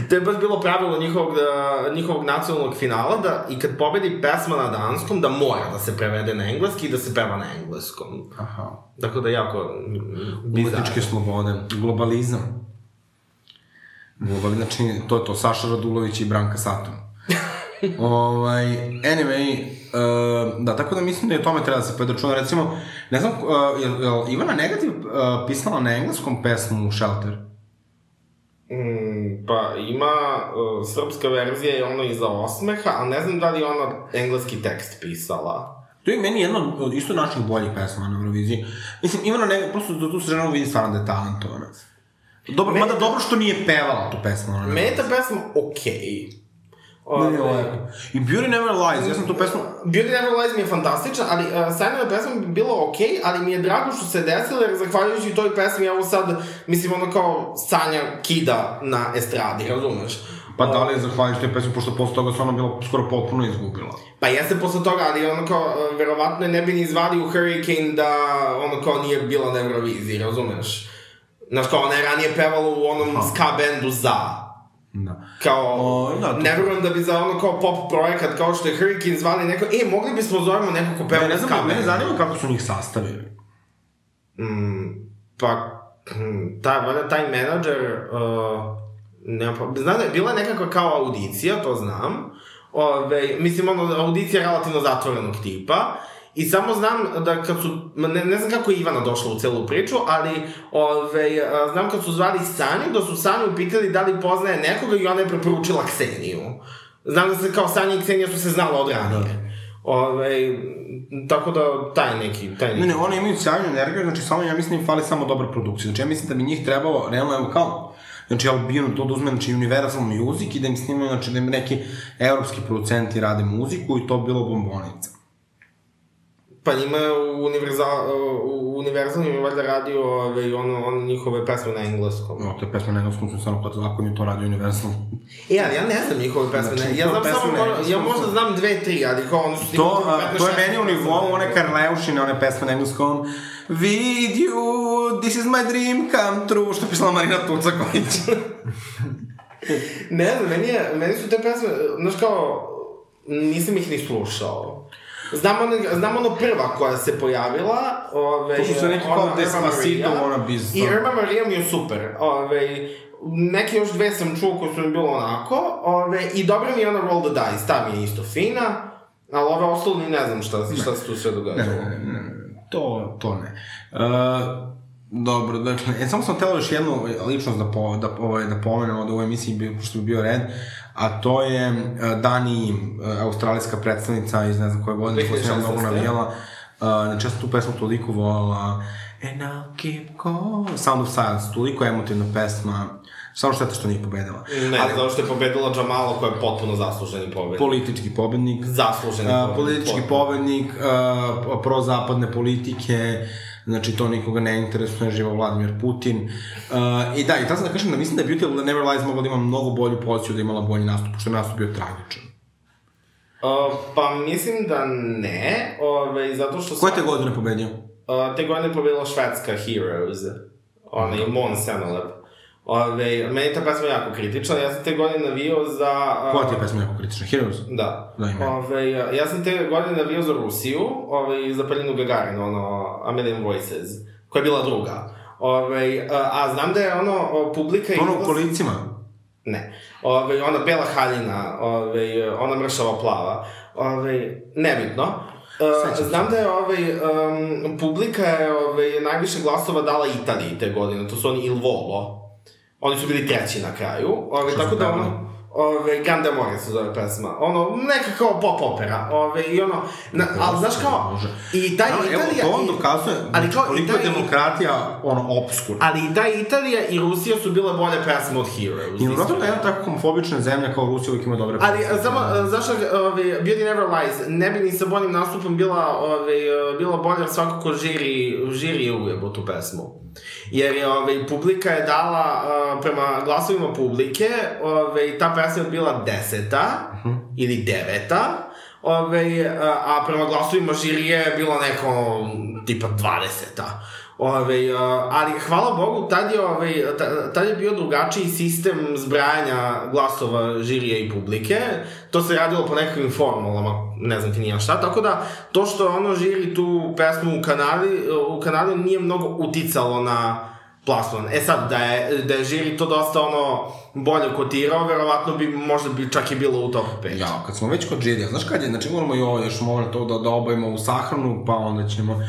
Speaker 5: To je baš bilo pravilo njihovog, da, njihovog nacionalnog finala da i kad pobedi pesma na danskom da mora da se prevede na engleski i da se peva na engleskom.
Speaker 7: Aha.
Speaker 5: Tako da jako mm, bizarno.
Speaker 4: Umetničke slobode, globalizam. Globali, znači, to je to, Saša Radulović i Branka Satom. ovaj, anyway, uh, da, tako da mislim da i o tome treba da se predračuna. Recimo, ne znam, uh, jel, jel Ivana Negativ uh, pisala na engleskom pesmu Shelter?
Speaker 5: Mm, pa ima uh, srpska verzija je ono iza osmeha, a ne znam da li je ona engleski tekst pisala.
Speaker 4: To je meni jedna od isto naših boljih pesama na Euroviziji. Mislim, Ivana Negativ, prosto da tu se žena vidi stvarno da je talentovana. Dobro, mada dobro što nije pevala tu pesmu. Ona,
Speaker 5: Meni je ta pesma okej.
Speaker 4: Ne, ne, ne.
Speaker 5: Ovaj,
Speaker 4: da, I Beauty Never Lies, ja sam tu pesmu
Speaker 5: Beauty Never Lies mi je fantastična, ali uh, Sanjeva pesma bi bila okej, ali mi je drago što se desilo, jer zahvaljujući toj pesmi, evo sad, mislim, ono kao Sanja kida na estradi, razumeš?
Speaker 4: Pa da li je zahvaljujući toj pesmi, pošto posle toga se ona bila skoro potpuno izgubila.
Speaker 5: Pa jeste posle toga, ali ono kao, uh, verovatno je ne bi ni izvadio Hurricane da ono kao nije bila na Euroviziji, razumeš? Znaš kao, ona je ranije pevala u onom ska bendu za.
Speaker 4: Da.
Speaker 5: Kao,
Speaker 4: O, da, to-
Speaker 5: ne verujem da bi za ono kao pop projekat kao što je Hurricane zvali neko, e, mogli bismo zovemo nekog ko peva
Speaker 4: Pa
Speaker 5: u
Speaker 4: ne
Speaker 5: ska
Speaker 4: znam, mene
Speaker 5: bendu."
Speaker 4: zanima kako su njih sastavili.
Speaker 5: Mm, pa, mm, ta, valjda taj menadžer, uh, nema, pa, znam da je bila nekakva kao audicija, to znam. Ove, mislim, ono, audicija relativno zatvorenog tipa. I samo znam da kad su, ma ne, ne znam kako je Ivana došla u celu priču, ali ove, a, znam kad su zvali Sanju, da su Sanju pitali da li poznaje nekoga i ona je preporučila Kseniju. Znam da se kao Sanja i Ksenija su se znala od ranije. Ove, tako da, taj neki, taj neki.
Speaker 4: Ne, ne, oni imaju sjajnu energiju, znači samo ja mislim im fali samo dobra produkcija. Znači ja mislim da bi njih trebalo, realno evo kao, znači Albino to da uzme, znači Universal Music i da im snimaju, znači da im neki evropski producenti rade muziku i to bi bilo bombonica.
Speaker 5: Pa njima je univerzal, univerzal im je valjda radio ove, ono, ono njihove pesme na engleskom.
Speaker 4: No, to je pesma na engleskom, sam stvarno kod ako mi to radio Universal.
Speaker 5: E, ali ja ne znam njihove pesme,
Speaker 4: Znači,
Speaker 5: ne. ja znam
Speaker 4: njihove
Speaker 5: samo,
Speaker 4: pesme na
Speaker 5: ono, ja
Speaker 4: engleskom
Speaker 5: možda
Speaker 4: su-
Speaker 5: znam dve, tri, ali kao ono su...
Speaker 4: To, a, to je meni u nivou one Karleušine, one pesme na engleskom With you, this is my dream come true, što je pisala Marina Tucaković.
Speaker 5: Ne znam, meni, je, meni su te pesme, znaš kao, nisam ih ni slušao. Znam ono, znam ono prva koja se pojavila, ove...
Speaker 4: To su sve neki
Speaker 5: ona
Speaker 4: kao
Speaker 5: Irma
Speaker 4: Despacito,
Speaker 5: Maria.
Speaker 4: ona biz. da.
Speaker 5: I Irma Maria mi je super. Ove, neke još dve sam čuo koje su mi bilo onako. Ove, I dobro mi je ona Roll the Dice, ta mi je isto fina. Ali ove ostalo ni ne znam šta, šta se tu sve događalo.
Speaker 4: To, to ne. Uh, dobro, dakle, e, samo sam htjela još jednu ličnost da, po, da, ovaj, da pomenem od ovoj emisiji, bio- pošto bi bio red, a to je e, Dani Im, e, australijska predstavnica iz ne znam koje godine, koja sam ja mnogo
Speaker 5: 2016,
Speaker 4: navijala. Uh, znači, ja sam tu pesmu toliko volala. And I'll keep going. Sound of Silence, toliko emotivna pesma. Samo šteta što nije pobedila.
Speaker 5: Ne, ali, zato što je pobedila Jamala koja je potpuno zasluženi pobed.
Speaker 4: Politički pobednik.
Speaker 5: Zasluženi
Speaker 4: A,
Speaker 5: pobed,
Speaker 4: politički
Speaker 5: potpuno.
Speaker 4: povednik, a, prozapadne politike, znači to nikoga ne interesuje, živo Vladimir Putin. A, I da, i tada sam da kažem da mislim da je Beauty Never Lies mogla da ima mnogo bolju poziciju, da je imala bolji nastup, pošto je nastup bio tragičan.
Speaker 5: Uh, pa mislim da ne, ove, zato što...
Speaker 4: Koje te godine pobedio?
Speaker 5: Uh, te godine je pobedila švedska Heroes, ona je Mon Senelep. Ove, meni je ta pesma jako kritična, ja sam te godine navio za... uh,
Speaker 4: Koja ti je pesma jako kritična? Heroes?
Speaker 5: Da.
Speaker 4: Da, ima.
Speaker 5: Ove, ja sam te godine navio za Rusiju, ove, za Pelinu Gagarinu, ono, A Million Voices, koja je bila druga. Ove, a, a znam da je ono, o, publika...
Speaker 4: Ono u
Speaker 5: izlaz-
Speaker 4: kolicima?
Speaker 5: Ne. Ove, ona bela haljina, ove, ona mršava plava. Ove, nebitno. E,
Speaker 4: Sećam se.
Speaker 5: znam da je ovaj, em, publika je ovaj, najviše glasova dala Italiji te godine, to su oni Il Volo. Oni su bili treći na kraju, ove,
Speaker 4: Što su
Speaker 5: tako da
Speaker 4: pevali?
Speaker 5: ono, ove, Ganda More se zove pesma. Ono, neka kao pop opera, ove, i ono, na, ali znaš kao,
Speaker 4: Bože.
Speaker 5: i taj
Speaker 4: Evo,
Speaker 5: Italija...
Speaker 4: to on
Speaker 5: i-
Speaker 4: dokazuje
Speaker 5: ali
Speaker 4: ali
Speaker 5: kao
Speaker 4: koliko je
Speaker 5: Italija-
Speaker 4: demokratija ono, obskurna.
Speaker 5: Ali i ta Italija i Rusija su bile bolje pesme od Heroes.
Speaker 4: I u
Speaker 5: iskreno.
Speaker 4: da jedna tako homofobična zemlja kao Rusija uvijek ima dobre
Speaker 5: Ali
Speaker 4: pesme.
Speaker 5: e, samo e, zašto ovaj Beauty Never Lies ne bi ni sa boljim nastupom bila ovaj e, bila bolja svakako žiri žiri je ujebo tu pesmu. Jer je ovaj publika je dala e, prema glasovima publike, ovaj ta pesma je bila deseta ili deveta. Ove, a prema glasovima žirije je bila neko tipa 20-a. Ove, ali hvala Bogu, tad je, ove, tad je bio drugačiji sistem zbrajanja glasova žirije i publike. To se radilo po nekakvim formulama, ne znam ti nija šta. Tako da, to što je ono žiri tu pesmu u Kanadi, u Kanadi nije mnogo uticalo na plasman. E sad, da je, da je žiri to dosta ono bolje kotirao, verovatno bi možda bi čak i bilo u top 5.
Speaker 4: Ja, kad smo već kod Džirija, znaš kad je, znači moramo i ovo još mora to da, da obavimo u sahranu, pa onda ćemo...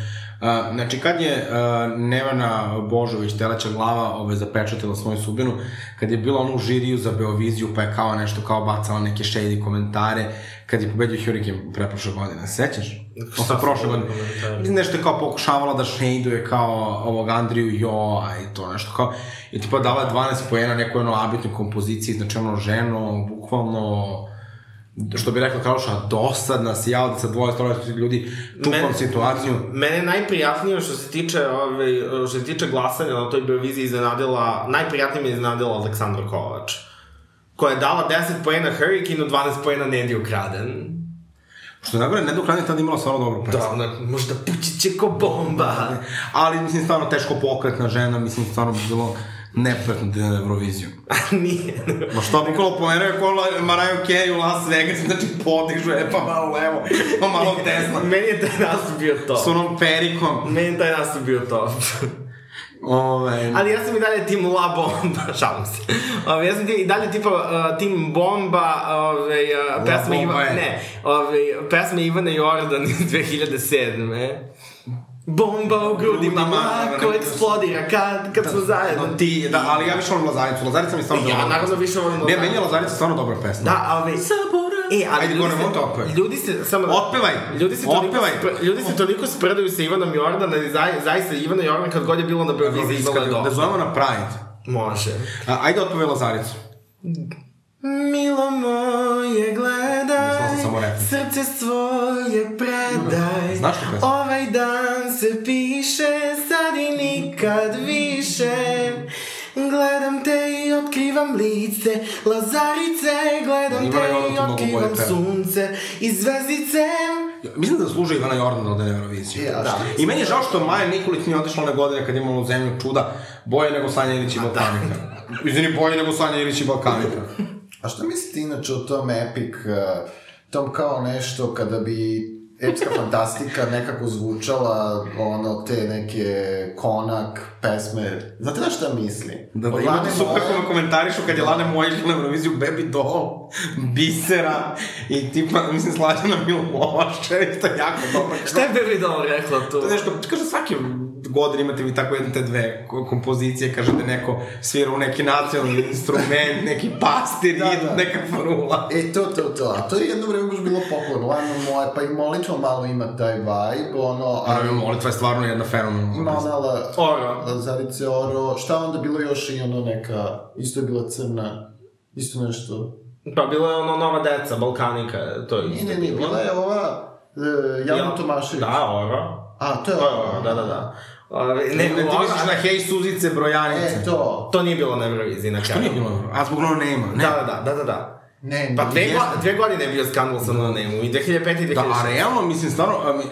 Speaker 4: Uh, znači, kad je uh, Nevana Božović, teleća glava, ove, zapečatila svoju sudbinu, kad je bila ono u žiriju za Beoviziju, pa je kao nešto, kao bacala neke shady komentare, kad je pobedio Hurricane preprošle godine, sećaš? Šta prošle godine? Mislim, nešto je kao pokušavala da shadeuje kao ovog Andriju Joa i to nešto kao, i tipa dala je 12 pojena nekoj ono abitnoj kompoziciji, znači ono ženo, bukvalno što bi rekla Krauša, dosadna, sjao da sa dvoje stroje ljudi tupom
Speaker 5: Meni-
Speaker 4: situaciju.
Speaker 5: Mene je najprijatnije što se tiče, ovaj, što se tiče glasanja na toj Euroviziji iznenadila, najprijatnije me je iznenadila Aleksandra Kovač, koja je dala 10 poena Hurricane, 12 poena Nedi ukraden.
Speaker 4: Što je najgore, Nedu Kranj je tada imala stvarno dobro pesmu.
Speaker 5: Da, ona možda pući će ko bomba.
Speaker 4: Ali, mislim, stvarno teško pokretna žena, mislim, stvarno bi bilo neprijatno da je na Euroviziju.
Speaker 5: A nije.
Speaker 4: Ma što bukvalo pomeraju ko La- Mariah Carey u Las Vegas, znači podižu, e pa malo levo, pa malo desno.
Speaker 5: Meni je taj nastup bio
Speaker 4: S
Speaker 5: to.
Speaker 4: onom perikom.
Speaker 5: Meni je taj nastup bio to.
Speaker 4: Ove,
Speaker 5: Ali ja sam i dalje tim La Bomba, šalim se. Ove, ja sam ti, i dalje tipa uh, tim Bomba, ove, uh, pesma,
Speaker 4: Bomba
Speaker 5: Iva,
Speaker 4: je.
Speaker 5: ne, ove, pesma Ivana Jordan iz 2007. Bomba u grudima
Speaker 4: Grudima,
Speaker 5: lako
Speaker 4: ne, ne,
Speaker 5: eksplodira kad, kad smo zajedno.
Speaker 4: no ti, da, ali ja više volim Lazaricu, Lazarica mi je stvarno
Speaker 5: Ja
Speaker 4: dobra
Speaker 5: naravno
Speaker 4: pesma.
Speaker 5: više volim
Speaker 4: Ne, meni je Lazarica stvarno dobra pesma.
Speaker 5: Da, ove, E, ali
Speaker 4: Ajde,
Speaker 5: ljudi,
Speaker 4: Goran, otpevaj.
Speaker 5: se, ljudi se, samo da-
Speaker 4: Otpevaj.
Speaker 5: Ljudi se toliko,
Speaker 4: Otpevaj.
Speaker 5: spr- ljudi se toliko sprdaju sa Ivanom Jordan, ali za, zaista Ivana Jordan kad god je bila na Beoviziji imala je
Speaker 4: Kad- Da
Speaker 5: dosta.
Speaker 4: zovemo na Pride.
Speaker 5: Može.
Speaker 4: A, ajde otpove Lazaricu.
Speaker 5: Milo moje,
Speaker 4: Mislila sam samo
Speaker 5: gledaj,
Speaker 4: replika.
Speaker 5: srce svoje predaj.
Speaker 4: Znaš tu pesmu?
Speaker 5: Ovaj dan se piše, sad i nikad više. Gledam te i otkrivam lice, lazarice, gledam
Speaker 4: Ivana
Speaker 5: te
Speaker 4: Jordan tu
Speaker 5: i
Speaker 4: mnogo bolje
Speaker 5: otkrivam
Speaker 4: peva.
Speaker 5: sunce i zvezdice.
Speaker 4: Ja, Mislim da zaslužuje Ivana Jordan da na Euroviziju.
Speaker 7: Ja,
Speaker 4: da. I meni je žao što Maja Nikolić nije otišla one godine kad je imala u zemlju čuda bolje nego Sanja Ilić i
Speaker 7: da.
Speaker 4: Balkanika. Izvini, bolje nego Sanja Ilić i Balkanika.
Speaker 7: A šta mislite inače o tom epic, uh, tom kao nešto kada bi epska fantastika nekako zvučala ono te neke konak pesme. Znate na šta mislim?
Speaker 4: Da, da,
Speaker 7: Od
Speaker 4: imate
Speaker 7: Lane
Speaker 4: super
Speaker 7: Moje-
Speaker 4: kome komentarišu kad je Lane Moja išla na Euroviziju Baby Doll, Bisera i tipa, mislim, Slađana Milovaše, što je jako dobro.
Speaker 5: Šta je Baby Doll rekla tu?
Speaker 4: To je nešto, kaže, svake godine imate vi tako jedne te dve ko- kompozicije, kaže da neko svira u neki nacionalni instrument, neki pastir, da, da. neka frula.
Speaker 7: E, to, to, to. A to je jedno vreme baš bilo popularno. Lana moje, pa i molitva malo ima taj vibe, ono, a
Speaker 4: Naravno, molitva je stvarno jedna fenomenalna.
Speaker 7: ima ona la,
Speaker 5: Ora.
Speaker 7: Lazarice Oro. Šta je onda bilo još i ono neka, isto je bila crna, isto nešto.
Speaker 5: Pa bila je ono nova deca, Balkanika, to je
Speaker 7: Ne,
Speaker 5: isto
Speaker 7: ne, ne,
Speaker 5: bilo.
Speaker 7: bila je ova, e, Jana
Speaker 5: Ja-
Speaker 7: Tomašević.
Speaker 5: Da, Oro.
Speaker 7: A, to je
Speaker 5: Da,
Speaker 7: ova.
Speaker 5: da, da, da. Ove, ne,
Speaker 4: Ne, ne, ti
Speaker 5: ova-
Speaker 4: misliš na Hej Suzice Brojanice.
Speaker 7: E, to.
Speaker 5: To nije bilo na Euroviziji na kraju.
Speaker 4: To nije bilo, a zbog ono nema. Ne.
Speaker 5: Da, da, da, da, da, da.
Speaker 7: Ne, ne.
Speaker 5: Pa dve, go, dve godine je bio skandal sa No Name-u, i 2005. i 2006.
Speaker 4: Da, a realno, mislim, stvarno... Um, uh,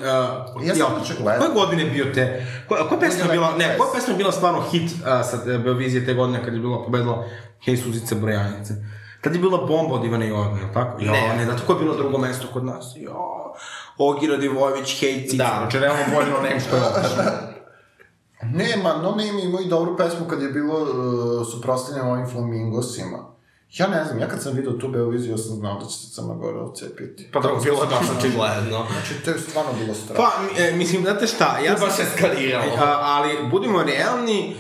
Speaker 7: Ja sam inače gledao.
Speaker 4: Koje godine je bio te... Koja, koja pesma je bila... Ne, koja pesma je bila stvarno hit uh, sa e, Beovizije te godine kad je bila pobedila Hej Suzice Brojanice? Tad je bila bomba od Ivane Jordan, jel tako? Jo, ne. ne, zato ko je bilo drugo mesto kod nas? Jo, Ogira Divojević, Hej Cica.
Speaker 5: Da.
Speaker 4: Da. Znači, realno bolje no name što je ovo.
Speaker 7: Nema, no name imao i dobru pesmu kad je bilo uh, suprostavljeno ovim flamingosima. Ja ne znam, ja kad sam vidio tu Beoviziju, ja sam znao da će se Crna Gora odcepiti.
Speaker 5: Pa dobro, bilo je baš očigledno.
Speaker 7: Znači, to je stvarno bilo strašno.
Speaker 4: Pa, mi- e, mislim, znate šta, ja E,
Speaker 5: To baš eskaliralo.
Speaker 4: A, ali, budimo realni,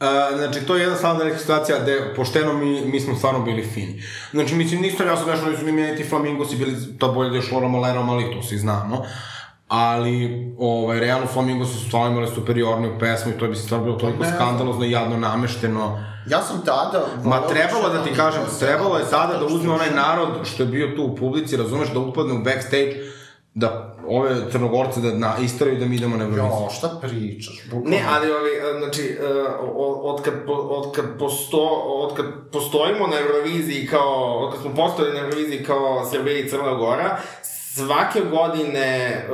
Speaker 4: a, znači, to je jedna stvarno velika situacija gde, pošteno, mi, mi smo stvarno bili fini. Znači, mislim, ništa ja sam nešto, nisu ni meni ti Flamingosi bili to bolje da je šlo Romolerom, ali to svi znamo. Ali, ovaj, realno Flamingosi su stvarno imali superiornu pesmu i to bi se stvarno bilo toliko skandalozno i jadno namešteno.
Speaker 7: Ja sam tada...
Speaker 4: Ma
Speaker 7: volao
Speaker 4: trebalo da ti
Speaker 7: Crna
Speaker 4: kažem,
Speaker 7: Gora,
Speaker 4: trebalo je sada da
Speaker 7: zato što
Speaker 4: uzme onaj
Speaker 7: nisam-
Speaker 4: narod što je bio tu u publici, razumeš, da upadne u backstage, da ove crnogorce da na, istaraju da mi idemo na Euroviziju.
Speaker 7: Jo, šta pričaš? Bukvalno.
Speaker 5: Ne, ali ovi, znači, e, o- od kad, po- od kad, posto, od kad postojimo na Euroviziji kao, od kad smo postojali na Euroviziji kao Srbija i Crna Gora, svake godine, e,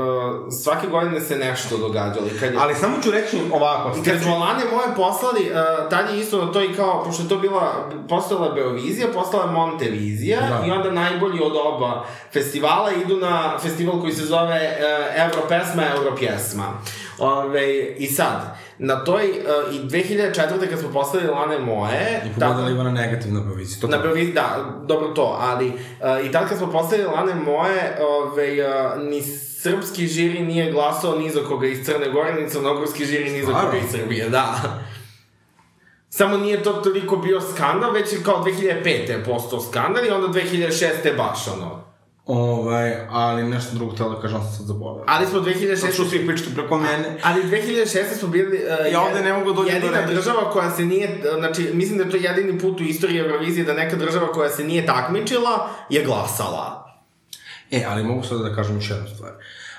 Speaker 5: svake godine se nešto događalo. I Kad je,
Speaker 4: Ali samo ću reći ovako,
Speaker 5: Kad smo Lane moje poslali, uh, tad je isto na to i kao, pošto je to bila, postala Beovizija, postala je Montevizija da.
Speaker 4: Da.
Speaker 5: i onda najbolji od oba festivala idu na festival koji se zove uh, Europesma, Europjesma. Ove, I sad, na toj, uh, i 2004. kad smo poslali Lane moje,
Speaker 4: I
Speaker 5: tad-
Speaker 4: pobedala Ivana negativna Eurovizija. To
Speaker 5: Na Beoviz, da, dobro to, ali uh, i tad kad smo postavili lane moje, ove, uh, ni srpski žiri nije glasao ni za koga iz Crne Gore, ni crnogorski žiri ni za koga
Speaker 4: Stvarno?
Speaker 5: iz Srbije, da. Samo nije to toliko bio skandal, već je kao 2005. je postao skandal i onda 2006. baš ono.
Speaker 4: Ovaj, ali nešto drugo htio da kažem, ali sam sad zaboravio.
Speaker 5: Ali smo
Speaker 4: Sad ću
Speaker 5: 2006.
Speaker 4: svi pričati preko mene.
Speaker 5: Ali 2006. smo bili uh,
Speaker 4: Ja ovde ne mogu da dođem do
Speaker 5: jedina
Speaker 4: reči.
Speaker 5: država koja se nije, uh, znači mislim da je to jedini put u istoriji Eurovizije da neka država koja se nije takmičila je glasala.
Speaker 4: E, ali mogu sad da kažem još jednu stvar.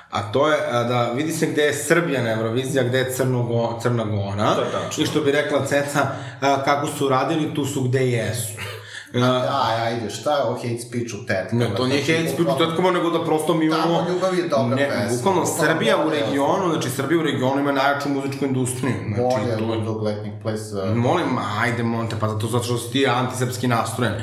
Speaker 4: A to je a, da vidi se gde je Srbija na Euroviziji, a gde je Crnogo, Crna Gora.
Speaker 5: To je tačno.
Speaker 4: I što bi rekla Ceca, a, kako su radili, tu su gde jesu. A,
Speaker 7: Da, Aj, ajde, šta je ovo hate speech u tetkama?
Speaker 4: Ne, to nije
Speaker 7: Znači,
Speaker 4: hate speech, to je
Speaker 7: bukvalno-
Speaker 4: tako nego da prosto mi
Speaker 7: Tamo
Speaker 4: imamo...
Speaker 7: ljubav je dobra pesma.
Speaker 4: Bukvalno,
Speaker 7: Bukvalno
Speaker 4: Srbija u
Speaker 7: bolje od-
Speaker 4: regionu, znači Srbija u regionu ima najjaču muzičku industriju. Znači,
Speaker 7: Bolje
Speaker 4: to je
Speaker 7: od Ogletnik Place. uh,
Speaker 4: Molim, ajde, Monte, pa zato, zato što si ti antisrpski nastrojen.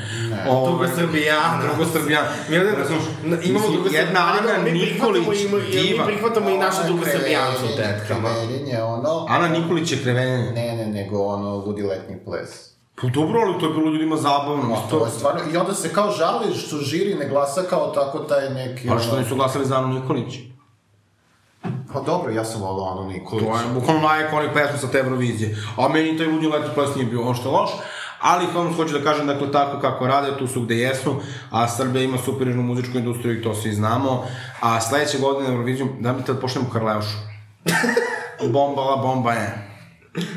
Speaker 4: Ovo,
Speaker 5: Drugo Srbijan. da.
Speaker 4: Drugo Srbijan.
Speaker 5: Mi ovde
Speaker 4: Razumeš?
Speaker 5: imamo
Speaker 4: Mislim,
Speaker 5: drugo
Speaker 4: Jedna Ana Nikolić, diva.
Speaker 5: Mi prihvatamo i našu drugu srbijancu u
Speaker 7: Kreveljenje,
Speaker 5: tetkama.
Speaker 7: Kreveljenje, ono...
Speaker 4: Ana Nikolić je krevenjenje.
Speaker 7: Ne, ne, nego ono, ludi letni ples.
Speaker 4: Pa dobro, ali to je bilo ljudima zabavno.
Speaker 7: To
Speaker 5: Pa
Speaker 4: To,
Speaker 7: je stvarno, i onda se kao žali što žiri ne glasa kao tako taj neki...
Speaker 4: pa što
Speaker 7: ono-
Speaker 4: nisu glasali za Anu Nikolić?
Speaker 7: Pa dobro, ja sam volao Anu Nikolić.
Speaker 4: To je bukvalno najekonik pesma sa te Eurovizije. A meni taj ludnji leto ples nije bio ono što je loš. Ali, kao hoću da kažem, dakle, tako kako rade, tu su gde jesu, a Srbija ima superiornu muzičku industriju i to svi znamo, a sledeće godine na Euroviziju, da mi te pošljem u Karleušu. Bombala, bomba je.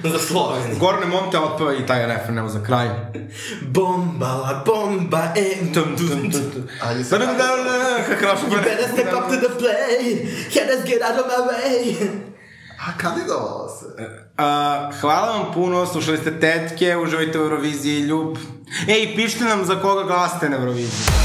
Speaker 5: Za Sloveniju.
Speaker 4: Gorne Monte otpeva i taj refren, evo za kraj.
Speaker 5: Bombala, bomba, e,
Speaker 4: Tum, tum, tum, tum.
Speaker 7: Ali se
Speaker 4: Da, da, da, da, da, kako
Speaker 5: You better step up to the play, can us get out of my way.
Speaker 7: A kandidovala se.
Speaker 4: A, hvala vam puno, slušali ste tetke, uživajte u Euroviziji, ljub. Ej, pišite nam za koga glasate na Euroviziji.